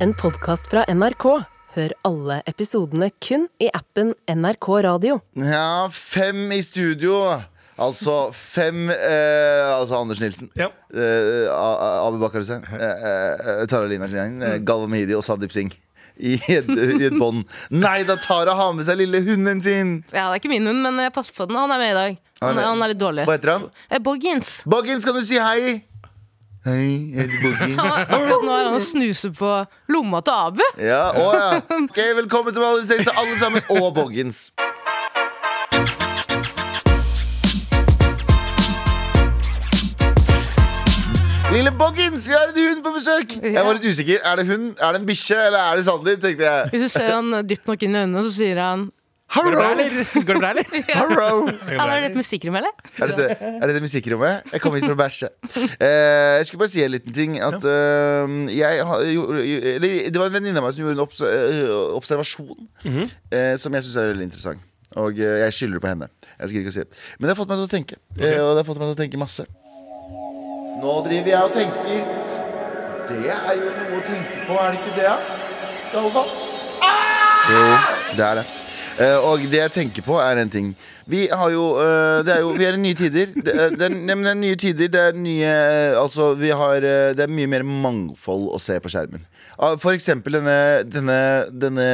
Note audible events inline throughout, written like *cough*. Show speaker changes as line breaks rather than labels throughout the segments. en podkast fra NRK. Hør alle episodene kun i appen NRK Radio.
Ja, fem i studio. Altså fem eh, Altså Anders Nilsen.
Ja.
Eh, A- A- Abu Bakar Hussein. Eh, eh, Tara Lina Klinang. Eh, Galva Mehidi og Sandeep Singh. I et, i et bånd. Nei da, Tara har med seg lille hunden sin!
Ja, det er ikke min hund, men jeg passer på den. Han er med i dag. Han,
med.
er- han er litt dårlig.
Hva heter han?
Eh, Boggins.
Boggins, kan du si hei? Hei, jeg heter Boggins.
Akkurat nå er han og snuser på lomma til Abu.
Ja, å ja. Ok, velkommen til Aldri sex til alle sammen, og Boggins. Lille Boggins, vi har en hund på besøk! Jeg var litt usikker. Er det hund, er det en bikkje, eller er det Sandeep? tenkte jeg.
Hvis du ser han eh, dypt nok inn i øynene, så sier han
Går det
Hello!
bra, eller? Går det bra,
*laughs*
eller?
Hello!
Han er litt musikkrom, eller?
Er dette, er dette musikkrommet? Jeg kom hit for å bæsje. Eh, jeg skulle bare si en liten ting. At, eh, jeg har jo, eller, det var en venninne av meg som gjorde en obs eh, observasjon eh, som jeg syns er veldig interessant. Og eh, jeg skylder det på henne. Jeg skal ikke si det. Men det har fått meg til å tenke. eh, og det har fått meg til å tenke masse. Nå driver jeg og tenker. Det er jo noe å tenke på, er det ikke det? Ah! da? Galvan? Jo, det er det. Eh, og det jeg tenker på, er en ting. Vi har jo, eh, det er jo Vi er i nye tider. Det er, det er, nei, men det er nye tider. Det er nye eh, Altså, vi har eh, Det er mye mer mangfold å se på skjermen. Ah, For eksempel denne, denne, denne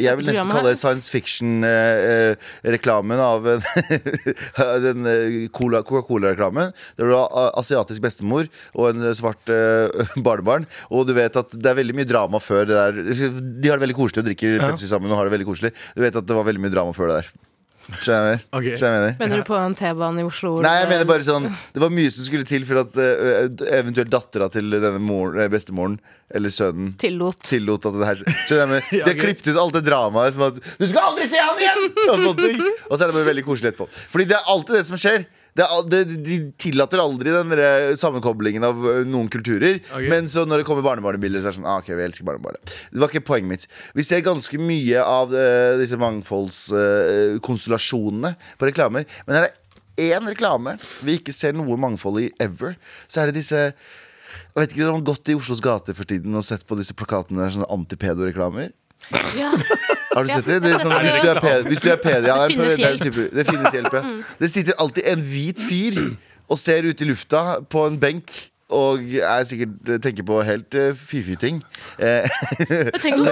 Jeg vil nesten
Programmet
kalle
her.
det science fiction-reklamen av en, den eh, *laughs* cola- Coca-Cola-reklamen. Der du har a- asiatisk bestemor og en eh, svart eh, *laughs* barnebarn. Og du vet at det er veldig mye drama før det der. De har det veldig koselig og drikker Pepsi sammen og har det veldig koselig. Du vet at det var veldig mye drama før det der. Skjønner du?
Ok.
Skjønner du? hva jeg mener?
Mener du på en T-bane i Oslo?
Nei, jeg mener bare sånn Det var mye som skulle til for at eh, eventuelt dattera til denne moren, eh, bestemoren eller sønnen
Tillot.
tillot at det her Skjønner jeg, men
*laughs*
De har
ok.
klippet ut alt det dramaet som at 'Du skal aldri se han igjen!' Og sånne ting Og så er det bare veldig koselig etterpå. Fordi det er alltid det som skjer. Det er, al- det, de tillater aldri den derre sammenkoblingen av ø, noen kulturer.
Ok.
Men så når det kommer barnebarnebilder, så er det sånn ah, OK, vi elsker barnebarnet. Det var ikke poenget mitt. Vi ser ganske mye av ø, disse mangfoldskonstellasjonene på reklamer. Men er det én reklame vi ikke ser noe mangfold i ever, så er det disse jeg vet ikke om dere har gått i Oslos gater for tiden og sett på disse plakatene der, sånne antipedo-reklamer?
Ja.
Har du sett det? det er sånn,
Ja.
hvis du er pedo, hvis du er pedo ja,
Det finnes
er en type- det finnes hjelp, ja. Det sitter alltid en hvit fyr og ser ut i lufta på en benk. Og er sikkert eh, tenker på helt uh, fy-fy-ting. Eh,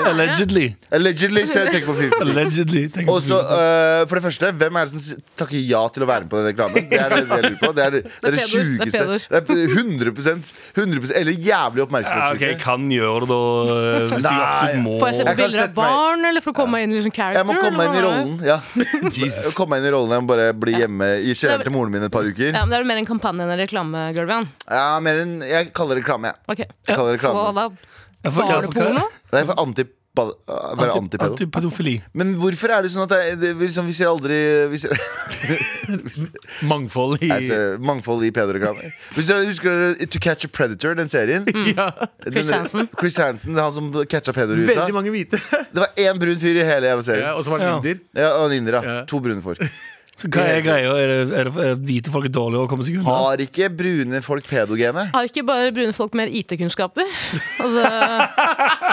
Allegedly.
allegedly så jeg tenker på fy-fy-ting.
Allegedly. tenker
Og så,
jeg.
eh, for det første, hvem er det som si- takker ja til å være med på den reklamen? Det er det, det jeg lurer på. Det er det, det, er det
pedoer, det er
sjukeste. Det er 100, 100 Eller jævlig
ja,
oppmerksomhet.
ok, kan gjøre det, da. eh, Hvis jeg absolutt må.
Får jeg se på
Jeg kan
bilder av
sette meg-
barn, eller for å komme meg inn i liksom character?
Jeg må komme
eller
meg inn i rollen.
hva er det?
Ja. Jeg må
Jesus.
komme meg inn i rollen Jeg må bare bli hjemme i kjelleren til moren min et par uker.
Ja, men Det er jo mer en kampanje enn en reklame, Gulvan.
Ja, mer enn Jeg kaller det reklame, jeg.
Okay.
jeg. kaller det
Så
reklame.
da
Jeg får- jeg får-
barneporno?
Det er for anti... ba- å Være
Anti-
antipedo.
Antipedofili.
Men hvorfor er det sånn at det, er- det, vi liksom, vi ser aldri vi ser,
Mangfold i
*laughs* Nei, så- Mangfold i pedoreklamer. Hvis dere husker dere To Catch a Predator, den serien?
*laughs* ja.
Mm. Chris
Den-
Hansen.
Chris Hansen, det er han som catcha pedoer i USA.
Veldig mange hvite.
Det var én brun fyr i hele jævla serien.
Ja, og så var det
Ja.
indier.
Ja, og en indier, ja.
Ja.
To brune folk.
Så hva er greia? Er det, er det, er hvite folk er dårlige å komme seg unna?
Har ikke brune folk pedogene?
Har ikke bare brune folk mer IT-kunnskaper? *laughs* Altså,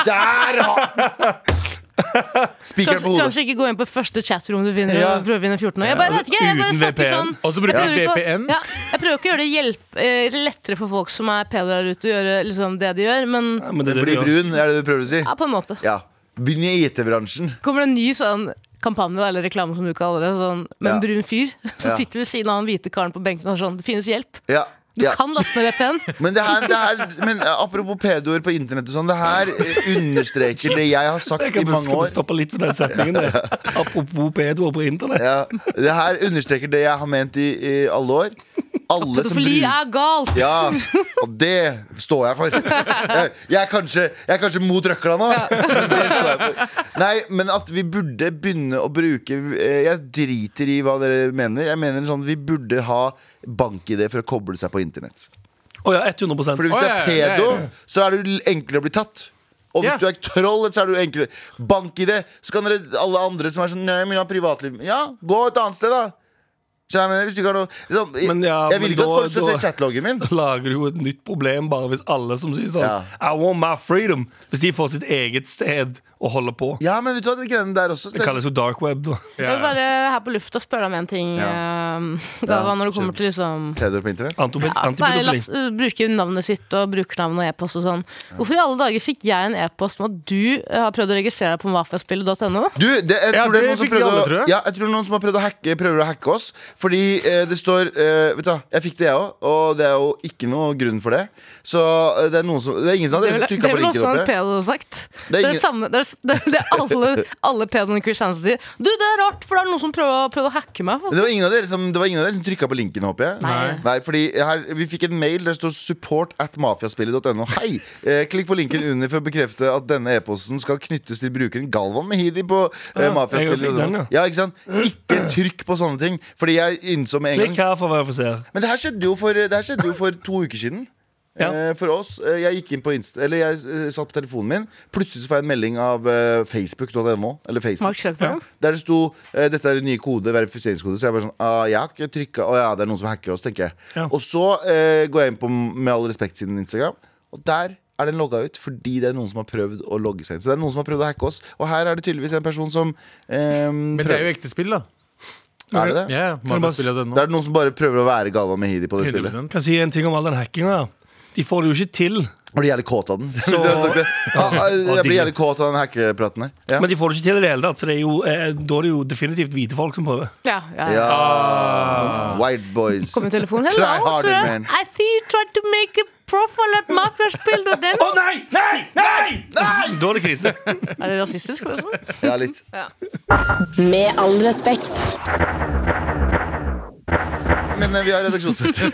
Der! *laughs* Spikeren
kanskje,
på hodet.
kanskje ikke gå inn på første chatrom du finner
Ja.
og prøve å vinne 14 år. Jeg bare vet ikke, jeg bare
Uten
snakker
VPN.
sånn
Og så bruker
Jeg
vi
prøver ikke å-
VPN.
Ja, jeg prøver ikke å gjøre det hjelp, eh, lettere for folk som er pedoer der ute, å gjøre liksom det de gjør, men
Ja, men det er det
Bli
du gjør.
brun, er det du prøver å si?
ja, på en måte.
Ja. Begynn i IT-bransjen.
Kommer det en ny sånn kampanje da, eller reklame som du kaller det, sånn, med
Ja.
en brun fyr, *laughs* så
Ja.
sitter du ved siden av han hvite karen på benken og er sånn Det finnes hjelp.
Ja.
Du
ja.
kan laste ned VPN.
Men, det her, det her, men eh, apropos pedoer på internett og sånn, det her eh, understreker det jeg har
Jeg
sagt i
kan
mange
skal du
år.
stoppe litt ved den setningen
*laughs*
der. Apropos pedoer på internett.
Ja. Det her understreker det jeg har ment i, i alle år. *laughs* Alle som
Pedofili
bruker
er galt!
Ja, og det står jeg for. Jeg, jeg, er, kanskje, jeg er kanskje mot røkla nå. men *laughs* Det står jeg for. Nei, men at vi burde begynne å bruke eh, Jeg driter i hva dere mener. Jeg mener sånn Vi burde ha bank-ID for å koble seg på internett.
Å ja, 100
Fordi hvis du er
Å, ja, ja,
pedo,
ja.
så er du enklere å bli tatt. Og hvis
Ja.
du er troll, så er du enklere. Bank-ID, så kan dere alle andre som er sånn Nei, men jeg vil ha privatliv. Ja, gå et annet sted, da. Så jeg mener, hvis du ikke har noe liksom, jeg,
Men ja,
jeg vil
men
ikke at
da-
folk skal
da-
se chatloggen min.
Lager jo et nytt problem bare hvis alle som sier sånn
Ja.
I want my freedom Hvis de får sitt eget sted å holde på.
Ja, men vet du hva, de greiene der også
Det kalles jo dark web. da
Jeg vil bare her på lufta spørre deg om en ting, eh, Galvan, når det kommer til liksom
Theodor på internett.
Antipedofili.
Nei, la oss uh, bruke navnet sitt og brukernavn og e-post og sånn. Hvorfor i alle dager fikk jeg en e-post med at du uh, har prøvd å registrere deg på mafiaspillet.no?
Du, det, jeg,
Ja,
tror det er
det
noen som
fikk de
prøvde
alle,
å,
tror jeg.
ja, jeg tror noen som har prøvd å hacke, prøver å hacke oss. Fordi eh, det står eh, Vet du hva, jeg fikk det, jeg òg. Og det er jo ikke noe grunn for det. Så eh, det er noen som Det er ingen som
Det
har
vil- det
trykka på
ville
linken.
også han
oppe.
sånn pedo sagt.
Det er
Det er
ingen-
det samme Det er, det er, det er
*laughs*
alle, alle pedoene i Kristiansand sier. Du, det er rart, for det er noen som prøver, å- prøver å hacke meg.
Men Det var ingen av dere som, det var ingen av dere som trykka på linken, håper jeg.
Nei.
fordi her, Vi fikk en mail der det står 'support at mafiaspillet.no'. Hei! Eh, klikk på linken under for å bekrefte at denne e-posten skal knyttes til brukeren Galvan Mehidi på eh,
Ja, jeg fikk den,
mafiaspillet.no.
ja.
Ja, ikke sant? Ikke trykk på sånne ting. Fordi jeg innså med en gang
Klikk her for å verifisere.
Men det her skjedde jo for, det her skjedde jo for to uker siden.
Ja.
Eh, for oss, eh, Jeg gikk inn på Insta, Eller jeg eh, satt på telefonen min. Plutselig så får jeg en melding av eh, facebook.no. Eller
Mark
Facebook
Zuckerberg.
Der det sto eh, 'Dette er en ny kode, verifiseringskode'. Så jeg bare sånn ah, Jeg har ikke trykket Å ja, det er noen som hacker oss, tenker jeg.
Ja.
Og så eh, går jeg inn på Med all respekt sin Instagram, og der er den logga ut fordi det er noen som har prøvd å logge seg inn. Så det er noen som har prøvd å hacke oss. Og her er det tydeligvis en person som eh,
Men det er jo ekte spill, da.
prøver- er det det?
Ja, ja,
Kan du bare-
mafiaspillet.no.
Det er noen som bare prøver å være Galvan Mehidi på det spillet.
100%.
Kan si en ting om all den hackinga. De får det jo ikke til.
Jeg blir jævlig kåt
*laughs*
av den. hvis jeg har sagt det. Ja, Ah, Jeg blir jævlig kåt av den hackepraten her. Ja.
Men de får det ikke til i det hele tatt. Så det er jo, eh, da er det jo definitivt hvite folk som prøver.
Ja, ja.
Ja.
Ah.
White boys.
Kom i
*laughs*
telefonen.
Try
Hello,
harder,
sir.
man.
I see you tried to make a profile at
Å
mafiaspill.no.
nei! Nei! Nei! Da er det krise.
Er det rasistisk? Også?
Ja, litt.
Med all respekt.
Men eh, vi har redaksjonsmøte.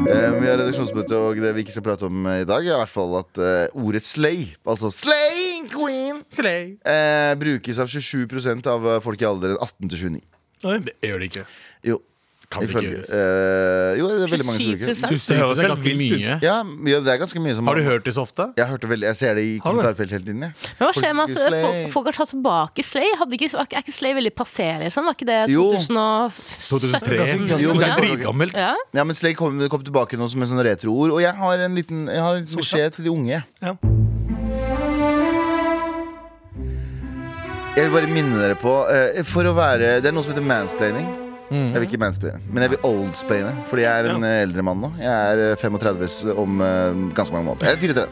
Eh, vi har redaksjonsmøte, og det vi ikke skal prate om eh, i dag, er i hvert fall at eh, ordet slay, altså slay queen,
Slay.
eh, brukes av 27 av eh, folk i alderen 18 til 29.
Det gjør det ikke.
Jo.
Kan det ikke
Ifølge
gjøres.
eh, Jo, det er veldig mange som bruker det.
27
Du ser
høres
det er
helt
ganske
vilt ut.
mye.
Ja, ja, det er ganske mye som
Har du hørt det så ofte?
Jeg, hørte veldig, jeg ser det i
Har du?
kommentarfelt hele tiden. jeg.
Men hva skjer med at
Slay.
folk, folk har tatt tilbake Slay? Hadde ikke, var ikke- er ikke Slay veldig passé, liksom? Var ikke det
Jo.
2003.
2017?
Jo, men
Det
det
er
er
dritgammelt.
Ja.
Ja, men Slay kom, kom tilbake nå som en sånn retroord. Og jeg har en liten, jeg har en liten beskjed til de unge.
Ja.
Jeg vil bare minne dere på eh, For å være, Det er noe som heter mansplaining. Jeg vil ikke mansplaine, men jeg vil oldsplaine. Fordi jeg er en eh, eldre mann nå. Jeg er eh, 35 s om eh, ganske mange måneder. Jeg er 34.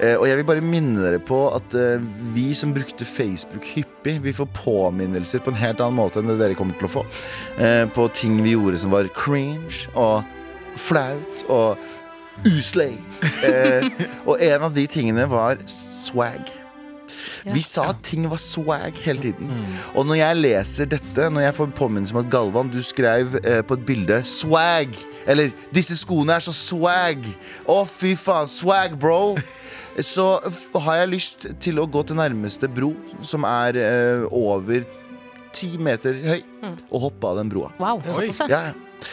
Eh, og jeg vil bare minne dere på at eh, vi som brukte Facebook hyppig, vi får påminnelser på en helt annen måte enn det dere kommer til å få. eh, på ting vi gjorde som var cringe og flaut og uslay. Eh, og en av de tingene var swag. Vi sa at ting var swag hele tiden. Og når jeg leser dette, når jeg får påminnelse om at Galvan, du skrev eh, på et bilde 'swag'. Eller 'disse skoene er så swag'. Å, fy faen. Swag, bro. Så f- har jeg lyst til å gå til nærmeste bro, som er eh, over ti meter høy, og hoppe av den broa.
Wow. såpass, ja.
Ja, ja.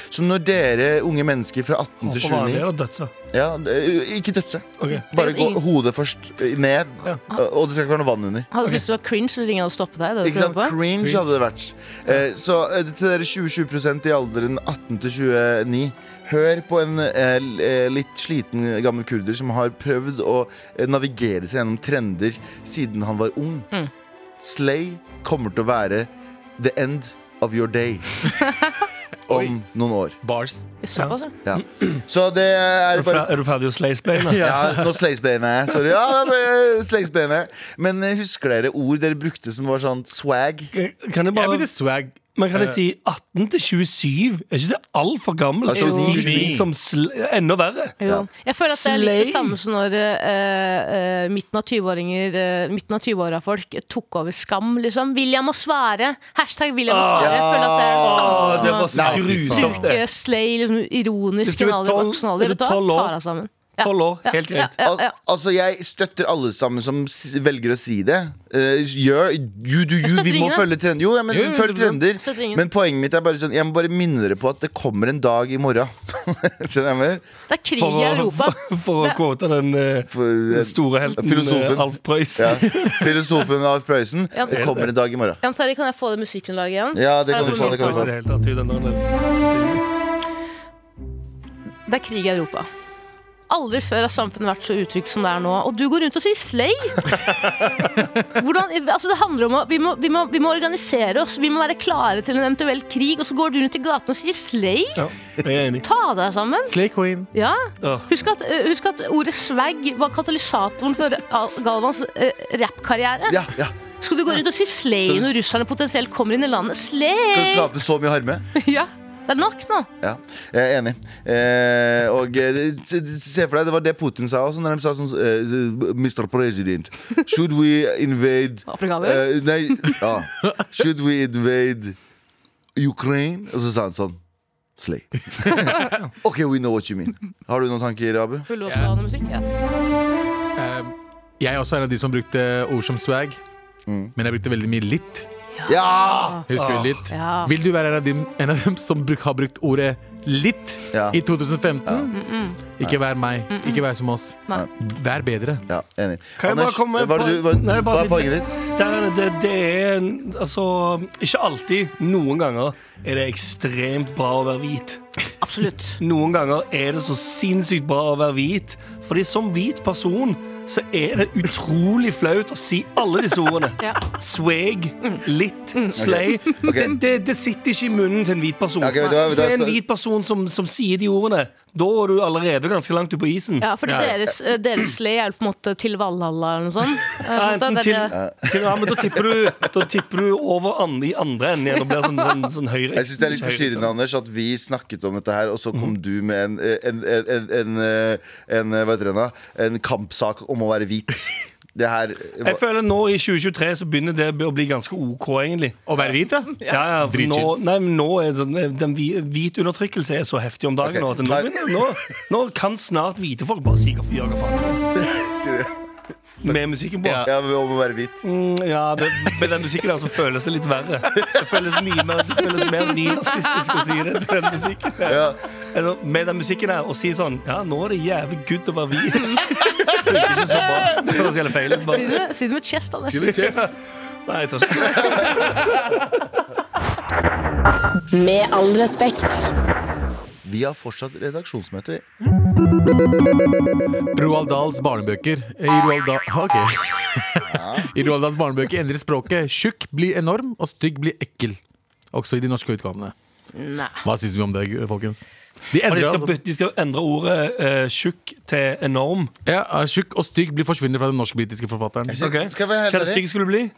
Så når dere unge mennesker fra 18 til
Hvorfor var det
29
da, dødse?
ja, eh, Ikke dødse.
Ok.
Bare
Det er
gå
ingen-
hodet først eh, ned,
Ja.
og det skal ikke være noe vann under.
Hadde syntes du var cringe hvis ingen hadde stoppet deg. Det du
Ikke sant?
prøver på.
Cringe hadde det vært. Eh, så eh, til dere 20-20 i alderen 18 til 29, hør på en eh, l- eh, litt sliten gammel kurder som har prøvd å eh, navigere seg gjennom trender siden han var ung. Slay kommer til å være the end of your day om noen år.
Bars.
Såpass, ja.
Ja. Så det
Er
er
du
bare
fer- Er du ferdig å slaysplaine?
*laughs* ja, nå slengsbeina jeg. Sorry. Ja, da ble jeg slengsbeina. Men eh, husker dere ord dere brukte som var sånn swag?
Kan jeg
Jeg
bare
begynte swag.
Men kan jeg
Eh.
si 18 til 27? Er ikke det altfor gammelt?
Jo.
29 som sl Enda verre.
Jo. Jeg føler at det er litt det
Slay.
samme som når eh, eh, midten av 20-åringer eh, Midten av 20-åra-folk tok over Skam, liksom. William må svare! Hashtag William må
Ah.
svare. Jeg føler at det er det
Åh,
samme
det var
som å
så
Nei, fy faen.
grusomt, det.
bruke slay liksom,
Hvis
ironisk
du
i
er
en alder
tolv-
voksen alder.
er du
Vet du hva?
tolv år?
Ta deg sammen.
Tolv år, helt
Ja,
greit.
ja,
Al
ja.
altså, jeg støtter alle sammen som s velger å si det. Eh, gjør you do you.
støtter
Vi må
ingen, da.
følge trender. Jo, ja, men
Jo, jo,
følg
jo, jo.
trender.
Støtter ingen.
Men poenget mitt er bare sånn Jeg må bare minne dere på at det kommer en dag i morgen. *laughs* Skjønner jeg mer?
Det er krig i Europa.
*laughs* for å
Det-
quote den eh,
For, eh,
store helten
Filosofen.
eh, Alf Prøys.
ja. Filosofen Alf Prøysen.
Ja.
Det kommer en dag i morgen.
Jan Terje, kan jeg få det musikkunderlaget igjen?
Ja, det kan
Ja,
du få. Det kan du få.
Altså, det er helt tatt i den der-
Det er krig i Europa. Aldri før har samfunnet vært så utrygt som det er nå. Og du går rundt og sier slay!
*laughs*
Hvordan, altså det handler om å, vi, må, vi, må, vi må organisere oss, vi må være klare til en eventuell krig, og så går du rundt i gaten og sier slay!
Ja, jeg er enig.
Ta deg sammen!
Slay Queen.
Ja.
Åh.
Husk, at, ø, husk at ordet swag var katalysatoren for Al- Galvans ø, rappkarriere.
Ja, ja.
Skal du gå rundt og si slay
Skal du-
når russerne potensielt kommer inn i landet?
Skal du
Slay! *laughs*
skape så mye harme?
Ja, det er nok nå.
Ja, jeg er enig. Eh, og eh, se se for deg, det var det Putin sa også, når de sa sånn eh, Mr. President, should we invade
Afrikaner.
eh, Nei, ja. Should we invade Ukraine? Og så sa han sånn Slay.
*laughs*
OK, we know what you mean. Har du noen tanker, Abu?
Vil du også ha noe musikk? Ja.
eh,
Ehm, Jeg er også en av de som brukte ord som swag.
Mm.
Men jeg brukte veldig mye litt.
Ja!
Jeg Husker du litt?
Ja.
Vil du være en av dem, en av dem som bruk, har brukt ordet litt
Ja.
i 2015? Ikke vær meg. Ikke vær som oss.
Nei.
Vær bedre.
Ja, Enig.
Kan jeg bare komme med
hva, er det du, hva,
poeng? Nei, bare
hva er
si-
poenget ditt?
Det, er- det, det er en- altså Ikke alltid. Noen ganger er det ekstremt bra å være hvit.
Absolutt.
Noen ganger er det så sinnssykt bra å være hvit. Fordi som hvit person så er det utrolig flaut å si alle disse ordene.
Ja. Mm.
Swag, litt, slay. Det, det, det sitter ikke i munnen til en hvit person.
Ok, vet du hva, vet
Hvis du
du hva,
er en
så-
hvit person som, som sier de ordene, da er du allerede ganske langt ute på isen.
Ja, fordi Deres, eh, deres slay er jo på en måte til Valhalla eller noe sånt. Eh,
Ja,
på en
enten
måte,
til,
det er det-
til, ja, men da tipper du, da tipper du over andre, i andre enden igjen og blir sånn, sånn, sånn høyre.
Jeg synes det er litt
sånn.
forstyrrende, Anders, at vi snakket om dette her, og så
Mhm.
kom du med en, en, en, en, en, eh, en, hva heter det nå? en kampsak om å være hvit. Det her
Jeg føler nå i 2023 så begynner det å bli ganske OK, egentlig.
Å være hvit, ja.
Ja, ja, for nå,
Dritchill.
nei, men nå er sånn, den hvi- hvit undertrykkelse er så heftig om
Ok,
dagen nå, at nå,
nei.
begynner- nå, nå kan snart hvite folk bare si hva jage faen de vil.
Sier du?
med musikken på.
Ja, men om å være hvit.
Mm, ja det, med den musikken der så føles det litt verre. Det føles mye mer, det føles mer nynazistisk å si det til den musikken. Der.
Ja.
Altså, med den musikken der, og si sånn Ja, nå er det jævlig good å være hvit. Det funker ikke så bra. Det høres jævlig feil ut.
Si
bare-
det med- Si det med chest, da.
Chill and *laughs* chest.
Nei, jeg tør ikke.
Med all respekt.
Vi har fortsatt redaksjonsmøte.
Roald Dahls barnebøker. Eh, I Roald, da ok. *laughs* I Roald Dahls barnebøker endrer språket. Tjukk blir enorm, og stygg blir ekkel. Også i de norske utgavene.
Nei.
Hva syns vi om det, folkens? De
Og de
endrer
skal,
altså.
bytte- de skal endre ordet eh, tjukk til enorm.
ja, ja, Tjukk og stygg blir forsvinner fra den norsk-britiske forfatteren.
Jeg
Eh,
synes-
Ok.
Skal jeg være
Hva er
helt
det
ærlig?
stygge skulle bli?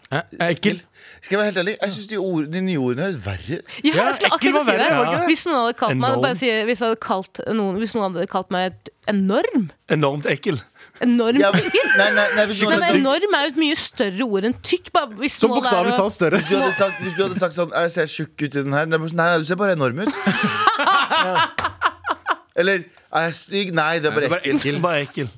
Ekkel.
Skal jeg være helt ærlig? Jeg syns de, ord- de nye ordene høres verre
*laughs*
ut.
Ja,
Ja,
jeg skulle
ekkel
akkurat
var
si
var
verre,
det ikke
det.
det?
Hvis noen hadde kalt meg
Enorm.
bare si, hvis jeg hadde kalt noen, hvis noen hadde kalt meg et enorm
Enormt ekkel.
Enorm
Ja, men-
tykkel?
nei, nei, nei, hvis, du
Nei,
hadde,
men enorm er jo et mye større ord enn tykk. Bare, hvis
Som
målet er
bokstavelig
å-
talt større.
hvis, du hadde sagt, hvis du hadde sagt sånn Jeg ser tjukk ut i den her. Nei, Nei, nei, du ser bare enorm
*laughs*
ut. Eller er jeg stygg? Nei, det er bare ekkelt.
Bare ekkel.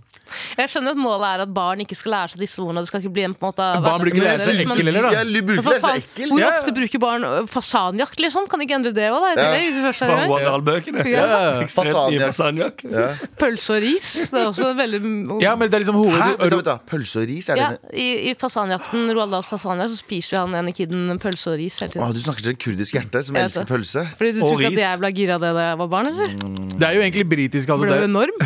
Jeg skjønner at målet er at barn ikke skal lære seg disse ordene. og Det skal ikke bli en på en måte
Barn blir ikke
hverdagsord deres,
lære seg
men-
ekkel heller, da.
Jeg bruker
Men
ikke
for
det, så
faen,
ekkel.
Hvor
Ja.
ofte bruker barn ø, fasanjakt, liksom? Kan ikke endre det òg, da? i
Ja.
tillegg, hvis det først er i
Fra
gang?
Roald Dahl-bøkene.
Ja.
Ekstremt mye
Fasanjakt.
fasanjakt.
Ja.
Pølse og ris. Det er også veldig
Ja, men det er liksom
Hæ? Vent, da, vent
hoved...
da. Pølse og ris? Er det
Ja,
det?
i, i fasanjakten, Roald Dahls fasanjakt, så spiser jo han ene kiden pølse og ris hele
Å,
tiden.
du snakker til en kurdisk hjerte som
Jeg vet
elsker
det.
pølse.
Fordi du
Og
tror ikke at
ris.
jeg ble gira av det da jeg var barn, eller?
Det er jo egentlig britisk. Altså,
Ble
Mm. det,
du
er,
enorm?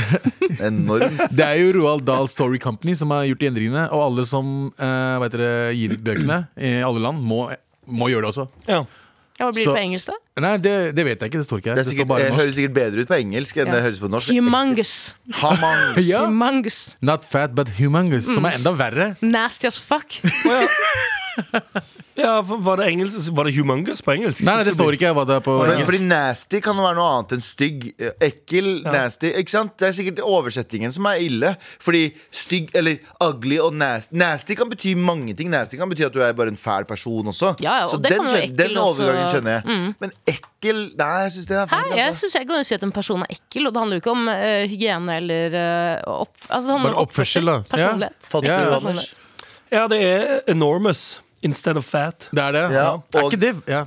Enormt.
det er jo Roald Dahl Story Company som har gjort de endringene. Og alle som eh, hva heter det, gir ut bøkene i alle land, må, må gjøre det også.
Ja.
Ja, hva blir
Så-
det på engelsk, da?
Nei, det, det vet jeg ikke. Det står ikke her.
Det,
Det,
er
står
sikkert,
bare
det
norsk.
høres sikkert bedre ut på engelsk enn det høres på norsk.
Humongous.
Hamang.
*laughs* Ja.
Humongous.
Not fat, but humongous, som er enda verre.
Nasty as fuck.
Å, ja. Ja, for var det engelsk? Var det humongous på engelsk?
Nei, nei, det står ikke hva det er på
Men,
engelsk.
fordi nasty kan jo være noe annet enn stygg. Eh, Ekkel, nasty. Ikke sant? Det er sikkert oversettingen som er ille. Fordi stygg eller ugly og nasty Nasty kan bety mange ting. Nasty kan bety at du er bare en fæl person også.
Ja, ja, og
Så
det
den,
kan jo
skjøn- den
ekkel også- Mm.
overgangen skjønner jeg. Men ekkel Nei, jeg syns det er feil.
Hæ? Jeg
Altså.
syns jeg kan jo si at en person er ekkel, og det handler jo ikke om eh, hygiene eller eh, opp, altså det handler
Bare
om oppførsel.
oppførsel, da. Ja.
Personlighet.
Fatter
Ja,
du,
ja.
Anders?
Ja, det er enormous instead of fat.
Det er det.
Ja,
Er
og-
ikke det ja.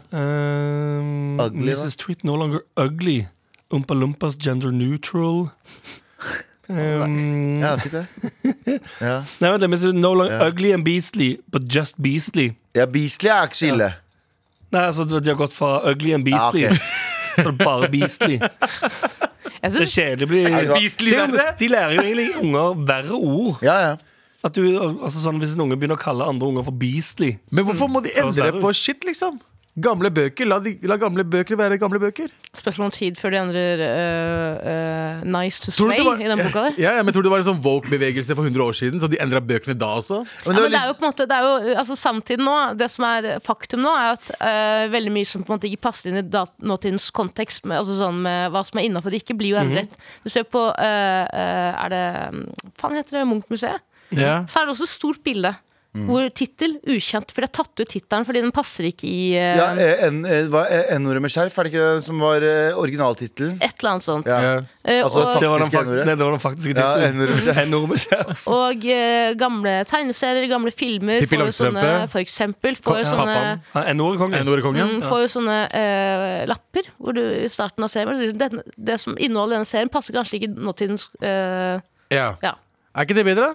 Um,
Ugly, da.
Mrs. Tweet no longer ugly. Umpa Lumpas gender neutral. Um,
Ja, det er fint, det. Ja.
Nei, vent litt. Mrs. No longer
Ja.
ugly and beastly, but just beastly.
ja, Beastly er ikke så ille.
Nei, altså, de har gått fra ugly and beastly
Ja, ok.
*laughs* til bare beastly.
Jeg
Det er
synes,
kjedelig. å bli-
det var-
Beastly
Det er jo-
verre?
De lærer jo egentlig unger verre ord.
Ja, ja.
At du, altså sånn, Hvis en unge begynner å kalle andre unger for beastly
Men hvorfor må de endre
verre ut.
på shit, liksom? Gamle bøker, la, de, la gamle bøker være gamle bøker.
spørsmål om tid før de endrer eh, eh, 'nice to
Tror du
slay'
det var-
i den boka der.
Ja, ja, men Tror du det var en sånn woke-bevegelse for 100 år siden? Så de endra bøkene da også?
Ja, men det
var
er jo
litt-
på en måte det er jo, altså Samtiden nå, det som er faktum nå, er at eh, veldig mye som på en måte ikke passer inn i dat nåtidens kontekst, med, altså sånn med hva som er innafor og ikke, blir jo endret.
Mhm.
Du ser på eh, eh, Er det mm, Faen, heter det Munch-museet?
Ja.
Så er det også et stort bilde.
Mhm.
Hvor tittel ukjent, for de har tatt ut tittelen fordi den passer ikke i eh,
ja, eh, en- eh, hva- eh, N-ordet med skjerf, er det ikke det som var eh, originaltittelen?
et eller annet sånt.
Ja.
Ja.
Eh,
Altså,
og-
Det var den,
Faktisk
fakt
N-ordet.
nei, det var den faktiske
Ja,
tittelen.
N-ordet med skjerf.
N-ordet med skjerf.
Og eh, gamle tegneserier, gamle filmer,
Pippi
får jo sånne,
Langstrømpe.
for eksempel. Får jo
Ko-
sånne
Pappaen.
Ja, N-ordet konge.
En
Mm,
kongen?
får jo sånne eh, lapper hvor du i starten av serien hvor det, det som inneholder i denne serien, passer kanskje ikke nåtidens eh,
Ja.
Ja.
Er ikke det bedre? da?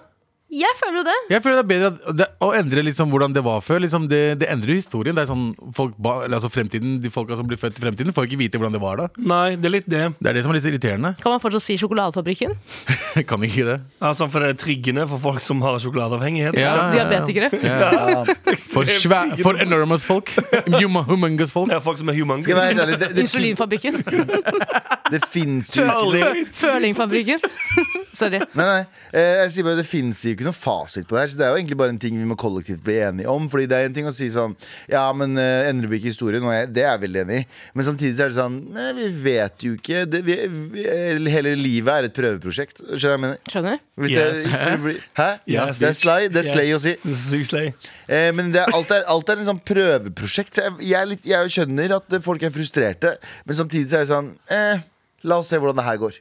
Jeg føler jo det.
Jeg føler det er bedre at det, å endre liksom hvordan det var før. Liksom det, det endrer historien. Det er sånn folk, ba- eller altså fremtiden, De folka som blir født i fremtiden, får ikke vite hvordan det var da.
Nei, det er litt det.
Det er det som er litt irriterende.
Kan man fortsatt si Sjokoladefabrikken?
Jeg *laughs* kan ikke det.
Altså, for det er triggende for folk som har sjokoladeavhengighet.
Ja.
Diabetikere.
Ja. For, svæ- for enormous folk. Hum- Humongous folk.
Ja, folk som er humans.
Skal jeg være helt ærlig, det, det, fin-
*laughs*
Insulinfabrikken.
det fins jo ikke
Aldri.
Fø- Følingfabrikken. *laughs* Sorry.
Nei, nei, eh, jeg sier bare Det finnes jo ikke noe fasit på det her. Så det er jo egentlig bare en ting vi må kollektivt bli enige om. Fordi det er en ting å si sånn Ja, men eh, endrer vi ikke historien? Og jeg, det er jeg veldig enig i. Men samtidig så er det sånn Nei, vi vet jo ikke. Det, vi, vi, eh, hele livet er et prøveprosjekt. Skjønner du hva jeg mener?
Skjønner?
Hvis
Yes.
det, det blir- Hæ?
Yes,
det er
bitch.
slay, det er slay å si.
Det er sykt slay.
Eh, men det er, alt, er, alt er en sånn prøveprosjekt. Så jeg, jeg, er litt, jeg skjønner at folk er frustrerte, men samtidig så er jeg sånn eh, La oss se hvordan det her går.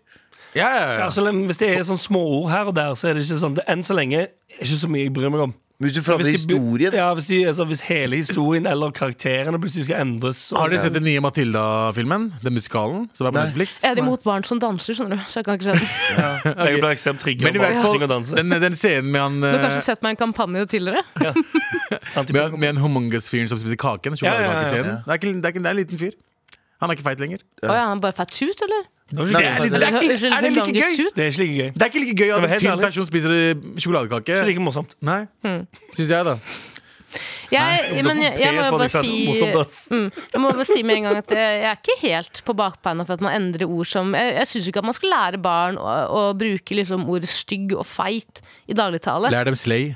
Ja, ja, ja.
Ja, så lenge- hvis det er sånn småord her og der, så er det ikke sånn det, Enn så lenge er det ikke så mye jeg bryr meg om.
Hvis du forandrer
Hvis de-
historien
Ja, hvis, de, altså, hvis hele historien eller karakterene plutselig skal endres så-
Har dere sett den nye Matilda-filmen? Den musikalen som er på
Nei.
Netflix?
Jeg er imot barn som danser, skjønner du. Så jeg kan ikke se den.
Jeg blir ekstremt trigget
Men i
av
hvert
dansing
fall,
og danse.
den, den scenen med han
Du har kanskje
eh,
sett meg i en kampanje tidligere?
Med, med en humongous-fyren som spiser kaken.
Ja, ja,
Sjokoladekakescenen. Det, er ikke- det, er ikke- det er en liten fyr. Han er ikke feit lenger.
Å ja, han bare fat suit, eller?
Det var
Nei,
ikke
nei,
gøy.
nei.
Det er ikke-
Unnskyld,
er det like
humongous
gøy?
suit?
Det er ikke like gøy.
Det er ikke like gøy
Skal vi
at
være
en
helt
tynn
ærlig?
person spiser eh,
Ikke
sjokoladekake.
like morsomt.
Nei,
Hmm.
syns jeg, da.
Jeg,
sånn
men jeg, jeg må jo
PS var
bare
det ikke morsomt,
si
ass.
Mm. Jeg må bare si med en gang at jeg, jeg er ikke helt på bakbeina for at man endrer ord som Jeg, jeg syns ikke at man skal lære barn å, å bruke liksom ord stygg og feit i dagligtale.
Lær dem slay.